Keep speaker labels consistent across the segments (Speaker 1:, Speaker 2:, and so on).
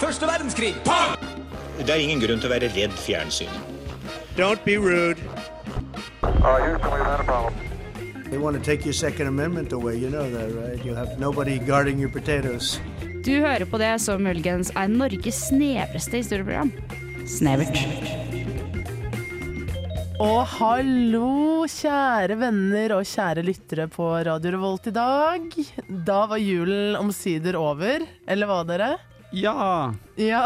Speaker 1: Første verdenskrig. Pang!
Speaker 2: Det er ingen grunn til å være redd fjernsyn.
Speaker 3: Don't be rude.
Speaker 4: Uh, Houston, we've had a problem.
Speaker 5: They want to take your Second Amendment away. You know that, right? You'll have nobody guarding your potatoes.
Speaker 6: Du hører på det som muligens er Norges snevreste historieprogram. Snevert.
Speaker 7: Og hallo, kjære venner og kjære lyttere på Radio Revolt i dag. Da var julen omsider over, eller hva dere?
Speaker 8: Ja.
Speaker 7: Ja,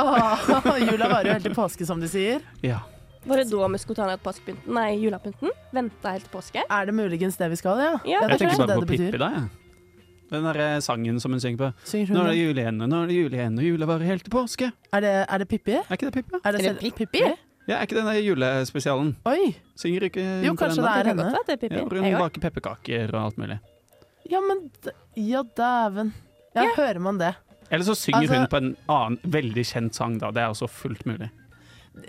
Speaker 7: jula varer jo helt til påske, som de sier.
Speaker 8: ja.
Speaker 9: Var det da vi skulle ta ned påskepynten? Nei, julepynten? Venta helt til påske?
Speaker 7: Er det muligens det vi skal, ja?
Speaker 9: Ja,
Speaker 7: Det er
Speaker 9: Jeg
Speaker 8: Jeg tenker
Speaker 7: kanskje
Speaker 8: bare
Speaker 7: det
Speaker 8: på
Speaker 7: det betyr.
Speaker 8: Pippi, da. jeg. Den derre sangen som hun synger på.
Speaker 7: Synger hun
Speaker 8: Nå er det
Speaker 7: den?
Speaker 8: jul igjen, og nå er det jul igjen, og jula varer helt til påske.
Speaker 7: Er det, er det Pippi?
Speaker 8: Er ikke det Pippi?
Speaker 7: Er det,
Speaker 9: Er det
Speaker 7: selv-
Speaker 9: Pippi?
Speaker 8: Ja, er ikke den der julespesialen?
Speaker 7: Oi!
Speaker 8: Synger ikke hun
Speaker 7: Jo,
Speaker 8: på
Speaker 7: kanskje
Speaker 8: den, da?
Speaker 7: det er
Speaker 9: Det
Speaker 7: henne.
Speaker 9: kan godt være at det er
Speaker 8: Ja, hvor
Speaker 9: Pippi.
Speaker 8: hun
Speaker 9: Jeg også.
Speaker 8: baker pepperkaker og alt mulig.
Speaker 7: Ja, men d- Ja, dæven. Ja, hører man det.
Speaker 8: Eller så synger
Speaker 7: Altså-
Speaker 8: hun på en annen veldig kjent sang, da. Det er også fullt mulig.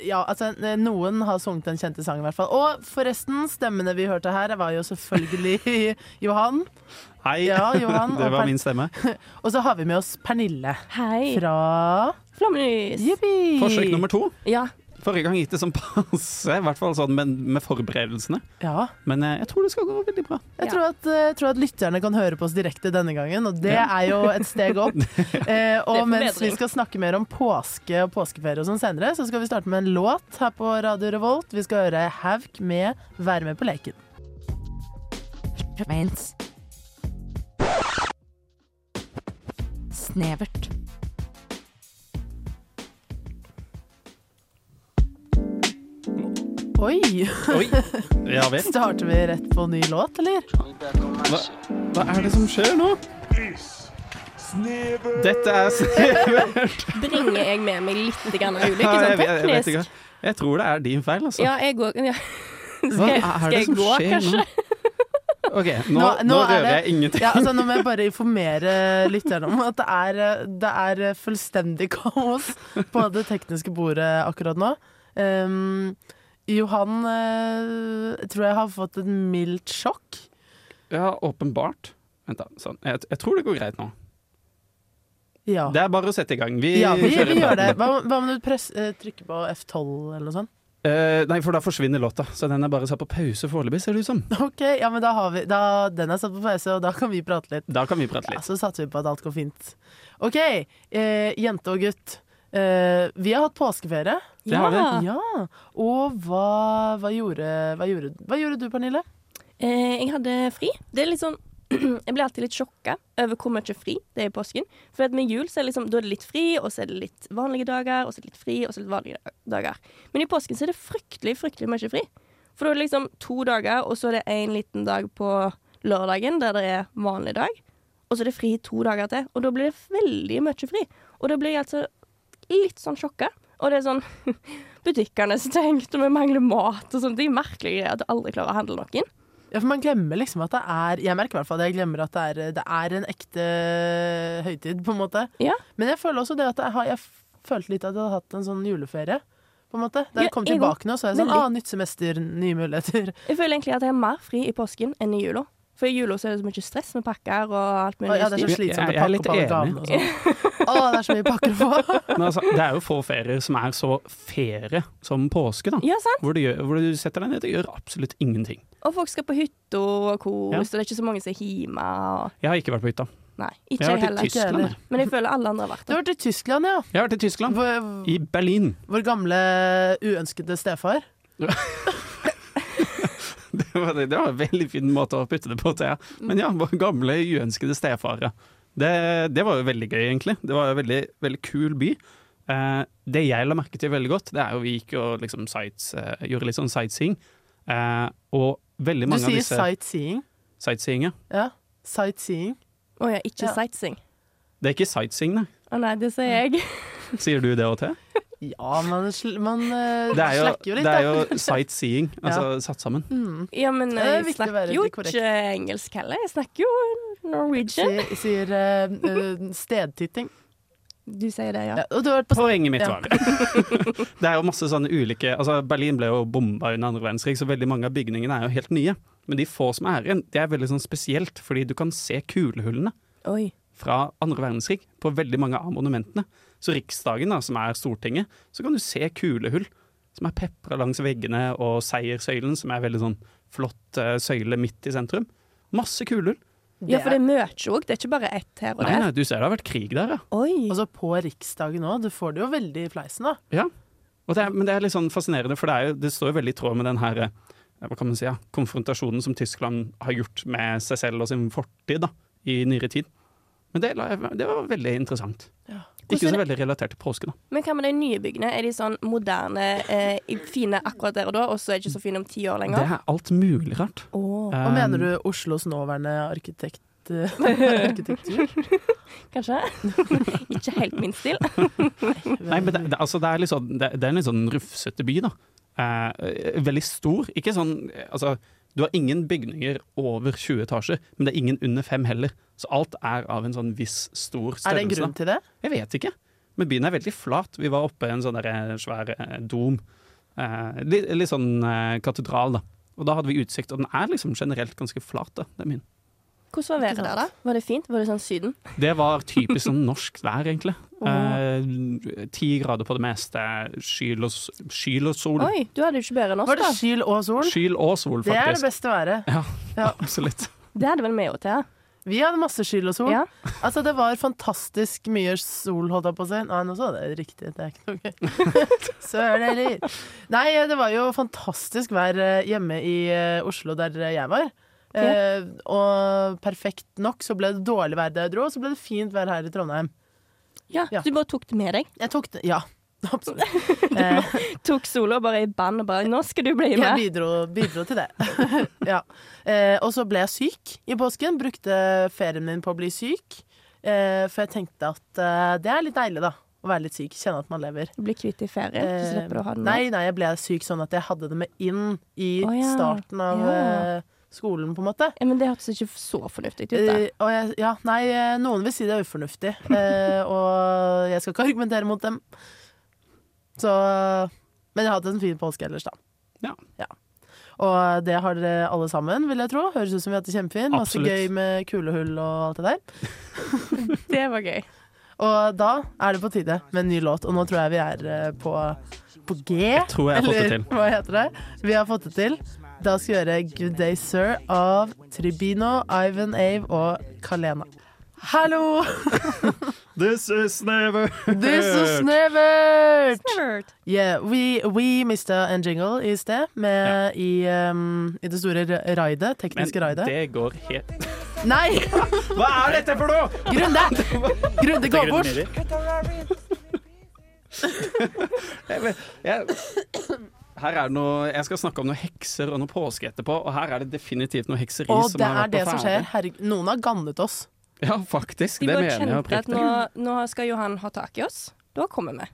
Speaker 7: Ja, altså, noen har sunget den kjente sangen, i hvert fall. Og forresten, stemmene vi hørte her, var jo selvfølgelig Johan.
Speaker 8: Hei,
Speaker 7: Ja, Johan
Speaker 8: det
Speaker 7: og
Speaker 8: var
Speaker 7: Per-
Speaker 8: min stemme.
Speaker 7: Og så har vi med oss Pernille
Speaker 9: Hei.
Speaker 7: fra
Speaker 9: Flammelys.
Speaker 7: Jippi!
Speaker 8: Forsøk nummer to.
Speaker 9: Ja.
Speaker 8: Forrige gang gikk det sånn passe, i hvert fall sånn med, med forberedelsene.
Speaker 7: Ja.
Speaker 8: Men eh, jeg tror det skal gå veldig bra.
Speaker 7: Jeg
Speaker 9: Ja.
Speaker 7: tror at, eh, tror at lytterne kan høre på oss direkte denne gangen, og det er jo et steg opp. Eh,
Speaker 9: Det
Speaker 7: og
Speaker 9: er
Speaker 7: mens vi
Speaker 9: forbedring.
Speaker 7: skal snakke mer om påske og påskeferie og sånn senere, så skal vi starte med en låt her på Radio Revolt. Vi skal høre Hauk med 'Vær med på leken'.
Speaker 10: Snevert.
Speaker 7: Oi!
Speaker 8: Oi! Ja vel.
Speaker 7: Starter vi rett på ny låt, eller?
Speaker 8: Hva, hva er det som skjer nå? Dette er snevert.
Speaker 9: Bringer jeg med meg litt grann av ulykke,
Speaker 8: Ja,
Speaker 9: sånn
Speaker 8: jeg vet- jeg vet
Speaker 9: teknisk?
Speaker 8: ikke. Jeg tror det er din feil, altså.
Speaker 9: Ja, jeg går ja.
Speaker 8: Hva
Speaker 9: Skal jeg,
Speaker 8: er
Speaker 9: skal
Speaker 8: det
Speaker 9: jeg
Speaker 8: som
Speaker 9: gå,
Speaker 8: skjer
Speaker 9: kanskje?
Speaker 8: nå? OK, nå, nå,
Speaker 7: Nå- nå er
Speaker 8: røver
Speaker 7: det-
Speaker 8: jeg ingenting.
Speaker 7: Ja, altså, nå må jeg bare informere lytterne om at det er, eh, det er eh, fullstendig kaos på det tekniske bordet akkurat nå. Um, Johan eh, tror jeg har fått et mildt sjokk.
Speaker 8: Ja, åpenbart. Vent, da. Sånn. Jeg, jeg tror det går greit nå.
Speaker 7: Ja,
Speaker 8: Det er bare å sette i gang. Vi,
Speaker 7: ja vi,
Speaker 8: kjører
Speaker 7: vi gjør det.
Speaker 8: praten.
Speaker 7: Hva, hva om du press, eh, trykker på F12 eller noe sånt?
Speaker 8: Eh, nei, for da forsvinner låta. Så den er bare satt på pause foreløpig, ser det ut som.
Speaker 7: Ok, ja, men da har vi da, Den er satt på pause, og da kan vi prate litt.
Speaker 8: Da kan vi prate
Speaker 7: Ja,
Speaker 8: litt.
Speaker 7: så satser vi på at alt går fint. OK, eh, jente og gutt. Eh, vi har hatt påskeferie.
Speaker 8: Det har vi.
Speaker 7: Ja, og hva, hva, gjorde, hva, gjorde, hva gjorde du, Pernille?
Speaker 9: Eh, jeg hadde fri. Det er litt sånn Jeg blir alltid litt sjokka over hvor mye fri det er i påsken. For at med jul så er det liksom, da er det litt fri, og så er det litt vanlige dager, og så er det litt fri, og så er det litt vanlige dag- dager. Men i påsken så er det fryktelig, fryktelig mye fri. For da er det liksom to dager, og så er det en liten dag på lørdagen der det er vanlig dag. Og så er det fri to dager til, og da blir det veldig mye fri. Og da blir jeg altså litt sånn sjokka. Og det er sånn Butikkene er stengt, og vi mangler mat og sånne ting. Merkelige greier at du aldri klarer å handle noen.
Speaker 7: Ja, for man glemmer liksom at det er Jeg merker i hvert fall at jeg glemmer at det er, det er en ekte høytid, på en måte.
Speaker 9: Ja.
Speaker 7: Men jeg føler også det at jeg, har, jeg følte litt at jeg hadde hatt en sånn juleferie. På en måte. Da jeg
Speaker 9: Ja,
Speaker 7: kom
Speaker 9: jeg
Speaker 7: tilbake nå, så er jeg sånn
Speaker 9: Veldig.
Speaker 7: ah, nytt semester, nye muligheter.
Speaker 9: Jeg føler egentlig at jeg har mer fri i påsken enn i jula. For i jula så er det så mye stress med pakker og alt
Speaker 7: Å,
Speaker 9: mulig.
Speaker 7: ja, det er
Speaker 9: styr.
Speaker 7: så slitsomt å
Speaker 8: Jeg- jeg er
Speaker 7: pakke
Speaker 8: litt
Speaker 7: opp alle
Speaker 8: enig.
Speaker 7: gavene og sånn. Å, det er så mye pakker å få.
Speaker 8: Men altså, det er jo få ferier som er så ferie som påske, da.
Speaker 9: ja, sant?
Speaker 8: Hvor du, gjør, hvor du setter deg ned og gjør absolutt ingenting.
Speaker 9: Og folk skal på hytta og kos,
Speaker 8: Ja.
Speaker 9: og det er ikke så mange som er hjemme. Og...
Speaker 8: Jeg har ikke vært på hytta.
Speaker 9: Nei,
Speaker 8: Jeg
Speaker 9: ikke
Speaker 8: har
Speaker 9: jeg
Speaker 8: vært i
Speaker 9: heller.
Speaker 8: Tyskland. jeg.
Speaker 9: Men jeg føler alle andre har vært
Speaker 7: Du
Speaker 9: der.
Speaker 7: har vært i Tyskland, ja.
Speaker 8: Jeg har vært i Tyskland.
Speaker 7: Vår,
Speaker 8: I Berlin.
Speaker 7: vår gamle uønskede stefar.
Speaker 8: Det var, det var en veldig fin måte å putte det på, Thea. Men ja, vår gamle uønskede stefare. Det, det var jo veldig gøy, egentlig. Det var jo en veldig, veldig kul by. Eh, det jeg la merke til veldig godt, det er jo vi gikk og liksom sights, eh, gjorde litt sånn sightseeing. Eh, og veldig
Speaker 7: Du
Speaker 8: mange av
Speaker 7: sier
Speaker 8: disse
Speaker 7: sightseeing.
Speaker 8: sightseeinga
Speaker 7: Ja. Sightseeing.
Speaker 9: Å ja, ikke
Speaker 7: Ja.
Speaker 9: sightseeing.
Speaker 8: Det er ikke sightseeing, nei.
Speaker 9: Å nei, det sier jeg.
Speaker 8: Sier du det òg, Thea?
Speaker 7: Ja, man, sl man eh,
Speaker 8: Det er jo,
Speaker 7: slakker jo litt,
Speaker 8: det er
Speaker 7: da. Mm,
Speaker 8: jo sightseeing, altså satt sammen.
Speaker 9: Ja, men
Speaker 7: Det er
Speaker 9: jeg
Speaker 7: viktig å være
Speaker 9: snakker jo
Speaker 7: litt korrekt.
Speaker 9: ikke engelsk heller. Jeg snakker jo Norwegian.
Speaker 7: Sier, sier eh, eh, stedtitting.
Speaker 9: Du sier det, ja.
Speaker 7: Ja, og du har vært på
Speaker 8: Poenget mitt
Speaker 7: Ja.
Speaker 8: var Det er jo masse sånne ulike Altså Berlin ble jo bomba under andre verdenskrig, så veldig mange av bygningene er jo helt nye. Men de få som er igjen, det er veldig sånn spesielt, fordi du kan se kulehullene.
Speaker 9: Oi.
Speaker 8: fra andre verdenskrig på veldig mange av monumentene. Så Riksdagen, da, som er Stortinget, så kan du se kulehull som er pepra langs veggene, og Seierssøylen, som er veldig sånn flott eh, søyle midt i sentrum. Masse kulehull.
Speaker 9: Ja, for det er mye òg. Det er ikke bare ett her og
Speaker 8: Nei,
Speaker 9: der.
Speaker 8: nei, du ser det har vært krig der, ja.
Speaker 9: Oi.
Speaker 7: Altså på Riksdagen òg. Du får det jo veldig i fleisen, da.
Speaker 8: Ja, og det er, men det er litt sånn fascinerende, for det, er jo, det står jo veldig i tråd med den her eh, hva kan man si, ja, konfrontasjonen som Tyskland har gjort med seg selv og sin fortid da, i nyere tid. Men det, la jeg- det var veldig interessant. Ikke så
Speaker 9: Hvordan
Speaker 8: veldig relatert til påske, da.
Speaker 9: Men hva med de nye byggene? Er de sånn moderne, eh, fine akkurat der og da, og så er de ikke så fine om ti år
Speaker 8: Det
Speaker 9: lenger?
Speaker 8: er alt mulig rart.
Speaker 9: Åh,
Speaker 7: Hva
Speaker 8: Um,
Speaker 7: mener du Oslos nåværende arkitekt, eh, arkitektur?
Speaker 9: kanskje? ikke helt min stil.
Speaker 8: Nei, men det, det, altså, det, er litt sånn, det, det er en litt sånn rufsete by, da. Eh, veldig stor. Ikke sånn eh, Altså, du har ingen bygninger over 20 etasjer, men det er ingen under fem heller. Så alt er av en sånn viss stor størrelse.
Speaker 7: Er det en
Speaker 8: da.
Speaker 7: grunn til det?
Speaker 8: Jeg vet ikke. Men byen er veldig flat. Vi var oppe i en sånn der eh, svær eh, dom. Eh, litt, litt sånn eh, katedral, da. Og da hadde vi utsikt, og den er liksom generelt ganske flat. da, det er min.
Speaker 9: Hvordan var været der, da? Var det fint? Var det sånn Syden?
Speaker 8: Det var typisk sånn norsk vær, egentlig. Eh, Ti grader på det meste, skyl og, s- skyl og sol.
Speaker 9: Oi, du hadde jo ikke bedre enn oss,
Speaker 7: Var det
Speaker 9: da.
Speaker 7: skyl og sol?
Speaker 8: Skyl og sol,
Speaker 7: Det er det
Speaker 8: faktisk.
Speaker 7: beste været.
Speaker 8: Ja,
Speaker 7: Ja.
Speaker 8: absolutt.
Speaker 9: Det hadde vel vi òg, Thea.
Speaker 7: Vi hadde masse skyl og sol.
Speaker 9: Ja.
Speaker 7: Altså, det var fantastisk mye sol, holdt jeg på å si. Nei, nå sa jeg det riktig. Det er ikke noe gøy. Søren heller. Nei, det var jo fantastisk vær eh, hjemme i eh, Oslo, der jeg var. Eh, og perfekt nok så ble det dårlig vær der jeg dro, og så ble det fint vær her i Trondheim.
Speaker 9: Ja,
Speaker 7: Ja.
Speaker 9: så Du bare tok det med deg.
Speaker 7: Jeg tok det Ja, absolutt. Eh,
Speaker 9: Tok sola bare i band og bare 'Nå skal du bli
Speaker 7: jeg
Speaker 9: med'.
Speaker 7: bidro, bidro til det. ja. eh, og så ble jeg syk i påsken. Brukte ferien min på å bli syk. Eh, for jeg tenkte at eh, det er litt deilig, da. Å være litt syk. Kjenne at man lever.
Speaker 9: Du blir kvitt i ferie, så
Speaker 7: Eh,
Speaker 9: slipper du å ha den med.
Speaker 7: nei, nei, jeg ble syk sånn at jeg hadde det med inn i
Speaker 9: Å, ja.
Speaker 7: starten av
Speaker 9: Ja.
Speaker 7: eh, skolen, på en måte.
Speaker 9: Ja, men det hørtes ikke så fornuftig ut, da.
Speaker 7: Eh, og jeg, ja, nei, eh, noen vil si det er ufornuftig, eh, og jeg skal ikke argumentere mot dem. Så Men jeg har hatt en fin påske ellers, da.
Speaker 8: Ja.
Speaker 7: Og det har dere alle sammen, vil jeg tro. Høres ut som vi har hatt det kjempefint. Masse
Speaker 8: Absolutt.
Speaker 7: gøy med kulehull og alt det der.
Speaker 9: Det var gøy.
Speaker 7: Og da er det på tide med en ny låt, og nå tror jeg vi er eh, på, på G.
Speaker 8: Tror jeg har fått det til.
Speaker 7: Hva heter det? Vi har fått det til. Da skal vi gjøre Good Day Sir av Tribino, Ivan Ave og Kalena. Hallo!
Speaker 8: This is never
Speaker 7: This is never
Speaker 9: Nerd.
Speaker 7: Yeah, we, we mista en jingle i sted, med i, um, i det store ra- raidet,
Speaker 8: Men
Speaker 7: tekniske raidet.
Speaker 8: det går helt
Speaker 7: Nei!
Speaker 8: Hva er dette for noe?!
Speaker 7: Grunde! Grunde, gå bort!
Speaker 8: Jeg vet- jeg, her er det noe, jeg skal snakke om noen hekser og noe påske etterpå, og her er det definitivt noe hekseri
Speaker 7: Og
Speaker 8: som
Speaker 7: det er
Speaker 8: har vært
Speaker 7: det
Speaker 8: på
Speaker 7: som
Speaker 8: ferde.
Speaker 7: skjer. Herregud, noen har gannet oss.
Speaker 8: Ja, faktisk.
Speaker 9: De
Speaker 8: det
Speaker 9: bare
Speaker 8: mener jeg
Speaker 9: kjente at
Speaker 8: oppriktig.
Speaker 9: nå, nå skal Johan ha tak i oss. Da kommer vi.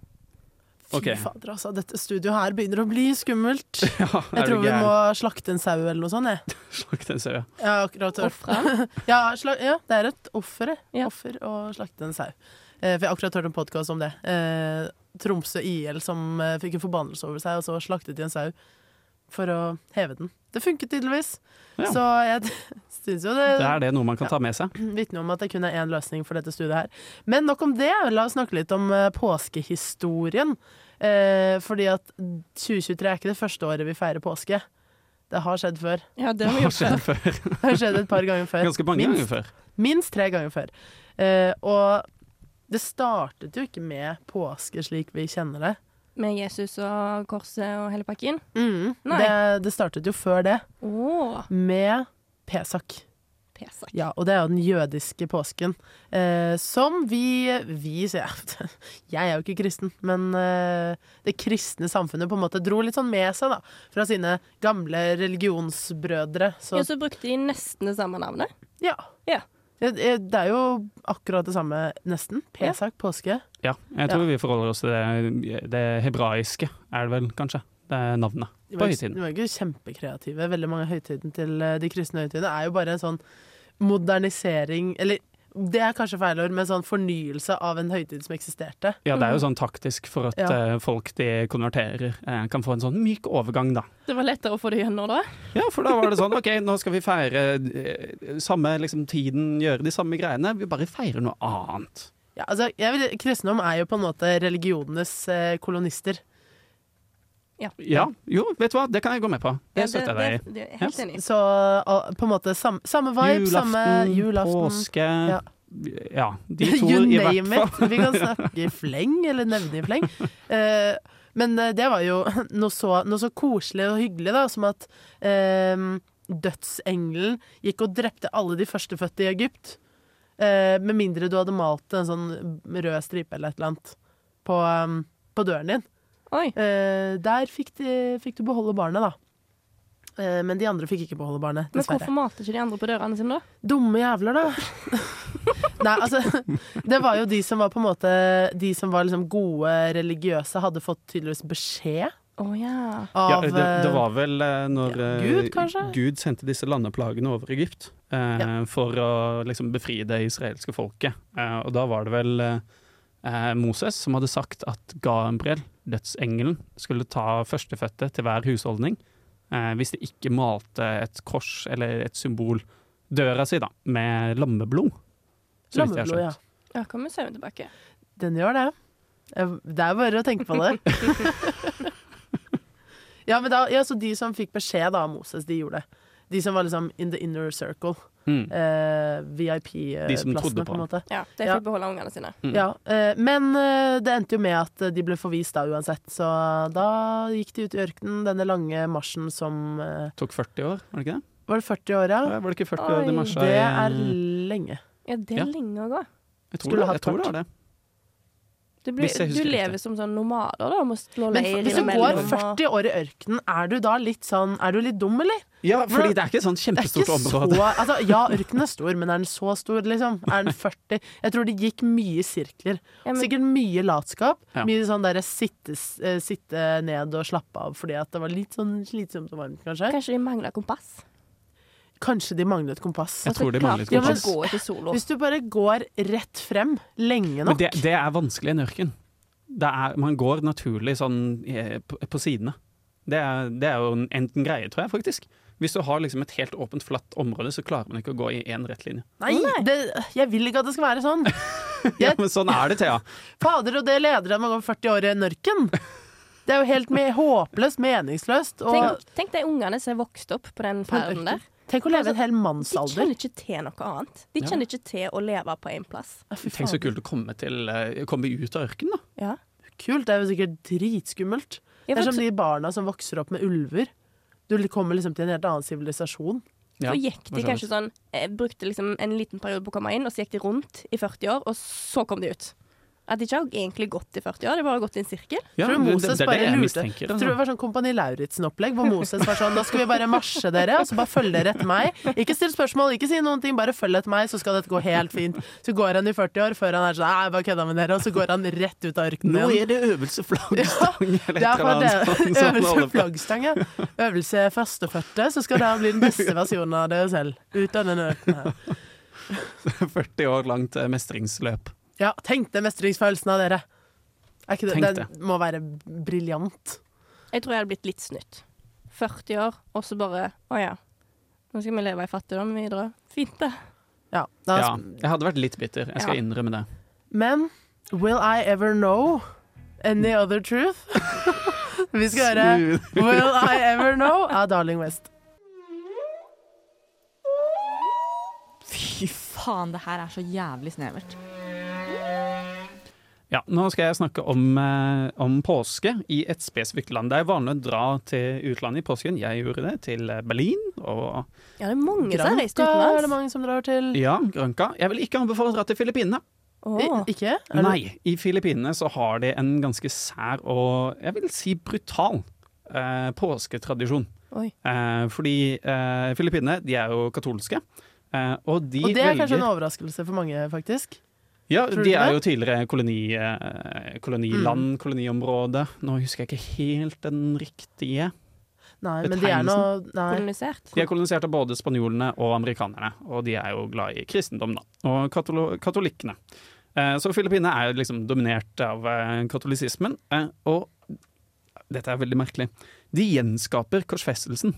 Speaker 7: Fy
Speaker 8: Ok.
Speaker 7: fader, altså. Dette studioet her begynner å bli skummelt.
Speaker 8: Ja,
Speaker 7: Jeg
Speaker 8: er du
Speaker 7: tror vi
Speaker 8: gæren?
Speaker 7: må slakte en sau eller noe sånt, jeg.
Speaker 8: Slakt en sau, ja.
Speaker 7: Jeg har akkurat hørt
Speaker 9: Ofra.
Speaker 7: ja, sla ja, det er et offer,
Speaker 9: Ja.
Speaker 7: ja. offer å slakte en sau. Eh, for jeg har akkurat hørt en podkast om det. Eh, Tromsø IL som eh, fikk en forbannelse over seg, og så slaktet de en sau for å heve den. Det funket tydeligvis.
Speaker 8: Ja.
Speaker 7: Så eh, jeg syns jo det,
Speaker 8: Det er det noe man kan ta med seg.
Speaker 7: vitner om at det kun er én løsning for dette studiet her. Men nok om det. La oss snakke litt om eh, påskehistorien. Eh, fordi at 2023 er ikke det første året vi feirer påske. Det har skjedd før.
Speaker 9: Ja, det har vi
Speaker 8: Har skjedd
Speaker 9: gjort før.
Speaker 8: før.
Speaker 7: Det har skjedd et par ganger før.
Speaker 8: Ganske mange
Speaker 7: Minst.
Speaker 8: ganger før.
Speaker 7: Minst tre ganger før. Eh, og det startet jo ikke med påske slik vi kjenner det.
Speaker 9: Med Jesus og korset og hele pakken. Mm, Nei.
Speaker 7: Det, det startet jo før det,
Speaker 9: Åh,
Speaker 7: med Pesak.
Speaker 9: Pesak.
Speaker 7: Ja, og det er jo den jødiske påsken. Eh, som vi, vi sier jeg. Jeg er jo ikke kristen, men eh, det kristne samfunnet på en måte dro litt sånn med seg, da. Fra sine gamle religionsbrødre.
Speaker 9: Ja,
Speaker 7: Så
Speaker 9: så brukte de nesten det samme navnet.
Speaker 7: ja.
Speaker 9: Ja.
Speaker 7: Det, det er jo akkurat det samme, nesten. Pesak, påske.
Speaker 8: Ja, jeg tror vi forholder oss til det, det hebraiske, er det vel kanskje. Det er navnet
Speaker 7: De
Speaker 8: på
Speaker 7: var, ikke- de
Speaker 8: høytiden.
Speaker 7: var ikke kjempekreative. Veldig mange av høytiden til eh, de kristne høytidene er jo bare en sånn modernisering Eller det er kanskje feil ord, men sånn fornyelse av en høytid som eksisterte.
Speaker 8: Ja, det er jo sånn taktisk for at
Speaker 7: Mm. Ja.
Speaker 8: eh, folk de konverterer, eh, kan få en sånn myk overgang, da.
Speaker 9: Det var lettere å få det gjennom da.
Speaker 8: Ja, for da var det sånn OK, nå skal vi feire eh, samme liksom, tiden, gjøre de samme greiene. Vi bare feirer noe annet.
Speaker 7: Ja, altså, jeg vil, kristendom er jo på en måte religionenes eh, kolonister.
Speaker 8: Ja, jo, vet du hva, det kan jeg gå med på. Det støtter jeg deg i.
Speaker 9: det, det er jeg helt
Speaker 8: Ja.
Speaker 9: enig. i.
Speaker 7: Så og, på en måte sam, samme vibe, samme
Speaker 8: Julaften,
Speaker 7: julaften.
Speaker 8: påske
Speaker 7: Ja.
Speaker 8: ja. de to
Speaker 7: you
Speaker 8: i hvert
Speaker 7: name
Speaker 8: fall.
Speaker 7: it. Vi kan snakke i fleng, eller nevne i fleng. Eh, men eh, det var jo noe så, noe så koselig og hyggelig, da, som at eh, dødsengelen gikk og drepte alle de førstefødte i Egypt. Eh, med mindre du hadde malt en sånn rød stripe eller et eller annet på, eh, på døren din.
Speaker 9: Oi.
Speaker 7: Eh, der fikk, de, fikk du beholde barnet, da. Eh, men de andre fikk ikke beholde barnet,
Speaker 9: Men
Speaker 7: dessverre.
Speaker 9: hvorfor malte ikke de andre på dørene sine, da?
Speaker 7: Dumme jævler, da. Nei, altså Det var jo de som var på en måte De som var liksom gode religiøse, hadde fått tydeligvis beskjed
Speaker 9: Å ja.
Speaker 7: av
Speaker 8: Ja, det, det var vel eh, når
Speaker 7: Ja,
Speaker 8: eh,
Speaker 7: Gud, kanskje?
Speaker 8: Gud sendte disse landeplagene over Egypt eh,
Speaker 7: Ja.
Speaker 8: for å liksom, befri det israelske folket. Eh, og da var det vel eh, Moses som hadde sagt at Gabriel, dødsengelen, skulle ta førstefødte til hver husholdning eh, hvis de ikke malte et kors eller et symbol, døra si, da, med lammeblod. så vidt jeg har
Speaker 7: lammeblod, ja.
Speaker 8: skjønt.
Speaker 9: Ja, kommer sauen tilbake.
Speaker 7: Den gjør det. Eh, Det er bare å tenke på det. ja, men da, ja, så de som fikk beskjed da av Moses, de gjorde det. De som var liksom in the inner circle.
Speaker 8: Mm.
Speaker 7: Eh,
Speaker 8: De som
Speaker 7: VIP-plassene,
Speaker 8: trodde på
Speaker 7: på en
Speaker 8: han.
Speaker 7: måte.
Speaker 9: Ja, De
Speaker 7: Ja.
Speaker 9: fikk beholde ungene sine.
Speaker 8: Mm.
Speaker 7: Ja, eh, men eh, det endte jo med at de ble forvist da uansett, så da gikk de ut i ørkenen, denne lange marsjen som eh,
Speaker 8: Mm. Tok 40 år, var det ikke det?
Speaker 7: Var det 40 år, ja?
Speaker 8: Var det ikke 40 år
Speaker 9: Oi,
Speaker 8: de marsja i
Speaker 7: Det
Speaker 8: eh,
Speaker 7: er lenge.
Speaker 9: Ja, det er
Speaker 8: Ja.
Speaker 9: lenge å gå.
Speaker 8: Jeg
Speaker 7: skulle
Speaker 8: tror, det-
Speaker 7: hatt
Speaker 8: jeg tror det
Speaker 7: kort.
Speaker 8: var det.
Speaker 9: Du, blir,
Speaker 8: Hvis jeg
Speaker 9: du
Speaker 8: husker riktig.
Speaker 9: lever som sånn nomader, da. Må slå
Speaker 7: Men
Speaker 9: leir
Speaker 7: hvis du går
Speaker 9: innimellom, og-
Speaker 7: 40 år i ørkenen, er du da litt sånn Er du litt dum, eller?
Speaker 8: Ja,
Speaker 7: Hvordan-
Speaker 8: fordi det er ikke et sånn
Speaker 7: Det er
Speaker 8: kjempestort
Speaker 7: ikke så
Speaker 8: område.
Speaker 7: altså, Ja, ørkenen er stor, men er den så stor, liksom? Er den 40 Jeg tror det gikk mye i sirkler.
Speaker 9: Ja, men-
Speaker 7: Sikkert mye latskap.
Speaker 8: Ja.
Speaker 7: Mye sånn derre sitte, eh, sitte ned og slappe av fordi at det var litt sånn slitsomt og varmt, kanskje.
Speaker 9: Kanskje de mangler kompass?
Speaker 7: Kanskje de manglet kompass.
Speaker 8: Jeg tror de mangler et
Speaker 9: Ja, men
Speaker 8: kompass.
Speaker 9: gå ikke solo.
Speaker 7: Hvis du bare går rett frem lenge
Speaker 8: Men
Speaker 7: nok
Speaker 8: det, det er vanskelig i en ørken. Det er, man går naturlig sånn eh, på, på sidene. Det er, det er jo en, en greie, tror jeg, faktisk. Hvis du har liksom et helt åpent, flatt område, så klarer man ikke å gå i én rett linje.
Speaker 7: Nei, det, jeg vil ikke at det skal være sånn!
Speaker 8: Ja, men sånn er det, Thea.
Speaker 7: Fader og det leder at man går 40 år i nørken! Det er jo helt me håpløst, meningsløst. Og
Speaker 9: Tenk, tenk de ungene som er vokst opp på den ferden der.
Speaker 7: tenk
Speaker 9: altså,
Speaker 7: å leve en hel
Speaker 9: De kjenner
Speaker 7: mannsalder.
Speaker 9: ikke til noe annet. De
Speaker 8: Ja.
Speaker 9: kjenner ikke til å leve på én plass.
Speaker 7: Ja, fy
Speaker 8: Tenk så
Speaker 7: fader.
Speaker 8: kult å komme, til, eh, komme ut av ørkenen, da.
Speaker 9: Ja.
Speaker 7: kult. Det er jo sikkert dritskummelt. Det
Speaker 9: Ja,
Speaker 7: er
Speaker 9: for,
Speaker 7: som de barna som vokser opp med ulver. Du kommer liksom til en helt annen sivilisasjon.
Speaker 8: Ja,
Speaker 9: for gikk
Speaker 8: for
Speaker 9: de
Speaker 8: så
Speaker 9: kanskje
Speaker 8: vidt.
Speaker 9: sånn eh, Brukte liksom en liten periode på å komme inn, og så gikk de rundt i 40 år, og så kom de ut. At de ikke har egentlig gått i 40 år, de bare har gått i en sirkel.
Speaker 8: Ja,
Speaker 7: tror du
Speaker 8: det-
Speaker 7: Moses
Speaker 8: det, det er
Speaker 7: bare
Speaker 8: det jeg
Speaker 7: lurte?
Speaker 8: mistenker. altså.
Speaker 7: Jeg tror det var sånn Kompani Lauritzen-opplegg, hvor Moses var sånn Nå skal vi bare marsje dere, og så bare følge dere etter meg. Ikke still spørsmål, ikke si noen ting, bare følg etter meg, så skal dette gå helt fint. Så går han i 40 år før han er sånn Nei, jeg bare kødda med dere, og så går han rett ut av ørkenen
Speaker 8: Nå
Speaker 7: igjen.
Speaker 8: er det øvelse flaggstang, eller
Speaker 7: Det er
Speaker 8: et eller annet
Speaker 7: for
Speaker 8: sånt
Speaker 7: det.
Speaker 8: som
Speaker 7: Øvelse
Speaker 8: alle-
Speaker 7: flaggstang, ja. Øvelse førstefødte, så skal dere bli den beste versjonen av dere selv. Ut av den ørkenen her.
Speaker 8: 40 år langt eh, mestringsløp.
Speaker 7: Ja, tenk den mestringsfølelsen av dere. Er ikke
Speaker 8: Tenk
Speaker 7: det,
Speaker 8: det.
Speaker 7: den må være briljant.
Speaker 9: Jeg tror jeg hadde blitt litt snytt. 40 år, og så bare Å ja. Nå skal vi leve i fattigdom videre. Fint, det.
Speaker 7: Ja, da
Speaker 8: Ja, jeg hadde vært litt bitter, jeg skal
Speaker 9: Ja.
Speaker 8: innrømme det.
Speaker 7: Men will I ever know any other truth? Vi skal høre
Speaker 8: Smooth.
Speaker 7: Will I ever know av Darling West.
Speaker 1: Fy faen, det her er så jævlig snevert.
Speaker 8: Ja, nå skal jeg snakke om, eh, om påske i et spesifikt land. Det er vanlig å dra til utlandet i påsken. Jeg gjorde det, til eh, Berlin og
Speaker 9: Ja, det er mange som har reist
Speaker 7: Granca er det
Speaker 9: utenlands.
Speaker 7: mange som drar til.
Speaker 8: ja, Granca. Jeg vil ikke anbefale å dra til Filippinene.
Speaker 9: Å.
Speaker 7: I, ikke? Er det-
Speaker 8: Nei, i Filippinene så har de en ganske sær og jeg vil si brutal eh, påsketradisjon.
Speaker 9: Oi.
Speaker 8: Eh, fordi eh, Filippinene, de er jo katolske. Eh, og de
Speaker 7: Og det er kanskje
Speaker 8: velger
Speaker 7: en overraskelse for mange, faktisk.
Speaker 8: Ja,
Speaker 7: Tror du
Speaker 8: de
Speaker 7: ikke
Speaker 8: er
Speaker 7: det? Mm.
Speaker 8: jo tidligere koloni, eh, koloniland, koloniområde. Nå husker jeg ikke helt den riktige.
Speaker 7: Nei, men de er nå Nei.
Speaker 9: Kolonisert.
Speaker 8: De er kolonisert av både spanjolene og amerikanerne, og de er jo glad i kristendom, da. Og katolo katolikkene. Eh, Så Filippinene er liksom dominert av eh, katolisismen, eh, og dette er veldig merkelig. De gjenskaper korsfestelsen.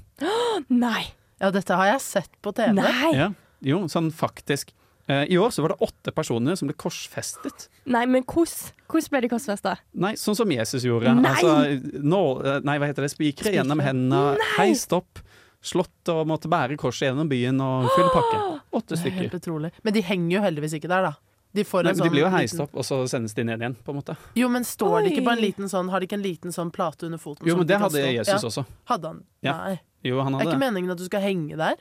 Speaker 9: Nei!
Speaker 7: Ja, dette har jeg sett på TV.
Speaker 9: Nei!
Speaker 8: Ja, jo, sånn faktisk. Eh, I år så var det åtte personer som ble korsfestet.
Speaker 9: Nei, men hvordan? Hvordan ble de korsfesta?
Speaker 8: Nei, sånn som Jesus gjorde.
Speaker 9: Nei!
Speaker 8: Altså, nå- eh, nei, hva heter det? Spikere gjennom hendene, heist opp, slått og måtte bære korset gjennom byen og full pakke. Åtte
Speaker 7: Det er
Speaker 8: stykker.
Speaker 7: Helt utrolig. Men de henger jo heldigvis ikke der, da. De, får en
Speaker 8: Nei, men de
Speaker 7: sånn
Speaker 8: blir jo
Speaker 7: liten-
Speaker 8: heist opp, og så sendes de ned igjen, på en måte.
Speaker 7: Jo, men står de ikke på en
Speaker 9: Oi.
Speaker 7: liten sånn Har de ikke en liten sånn plate under foten?
Speaker 8: Jo,
Speaker 7: som
Speaker 8: men
Speaker 7: de
Speaker 8: det
Speaker 7: kan
Speaker 8: hadde
Speaker 7: stå-
Speaker 8: Jesus
Speaker 7: ja.
Speaker 8: også.
Speaker 7: Hadde han?
Speaker 8: Ja.
Speaker 7: Nei.
Speaker 8: Jo, han
Speaker 7: Det er
Speaker 8: hadde
Speaker 7: ikke
Speaker 8: det.
Speaker 7: meningen at du skal henge der.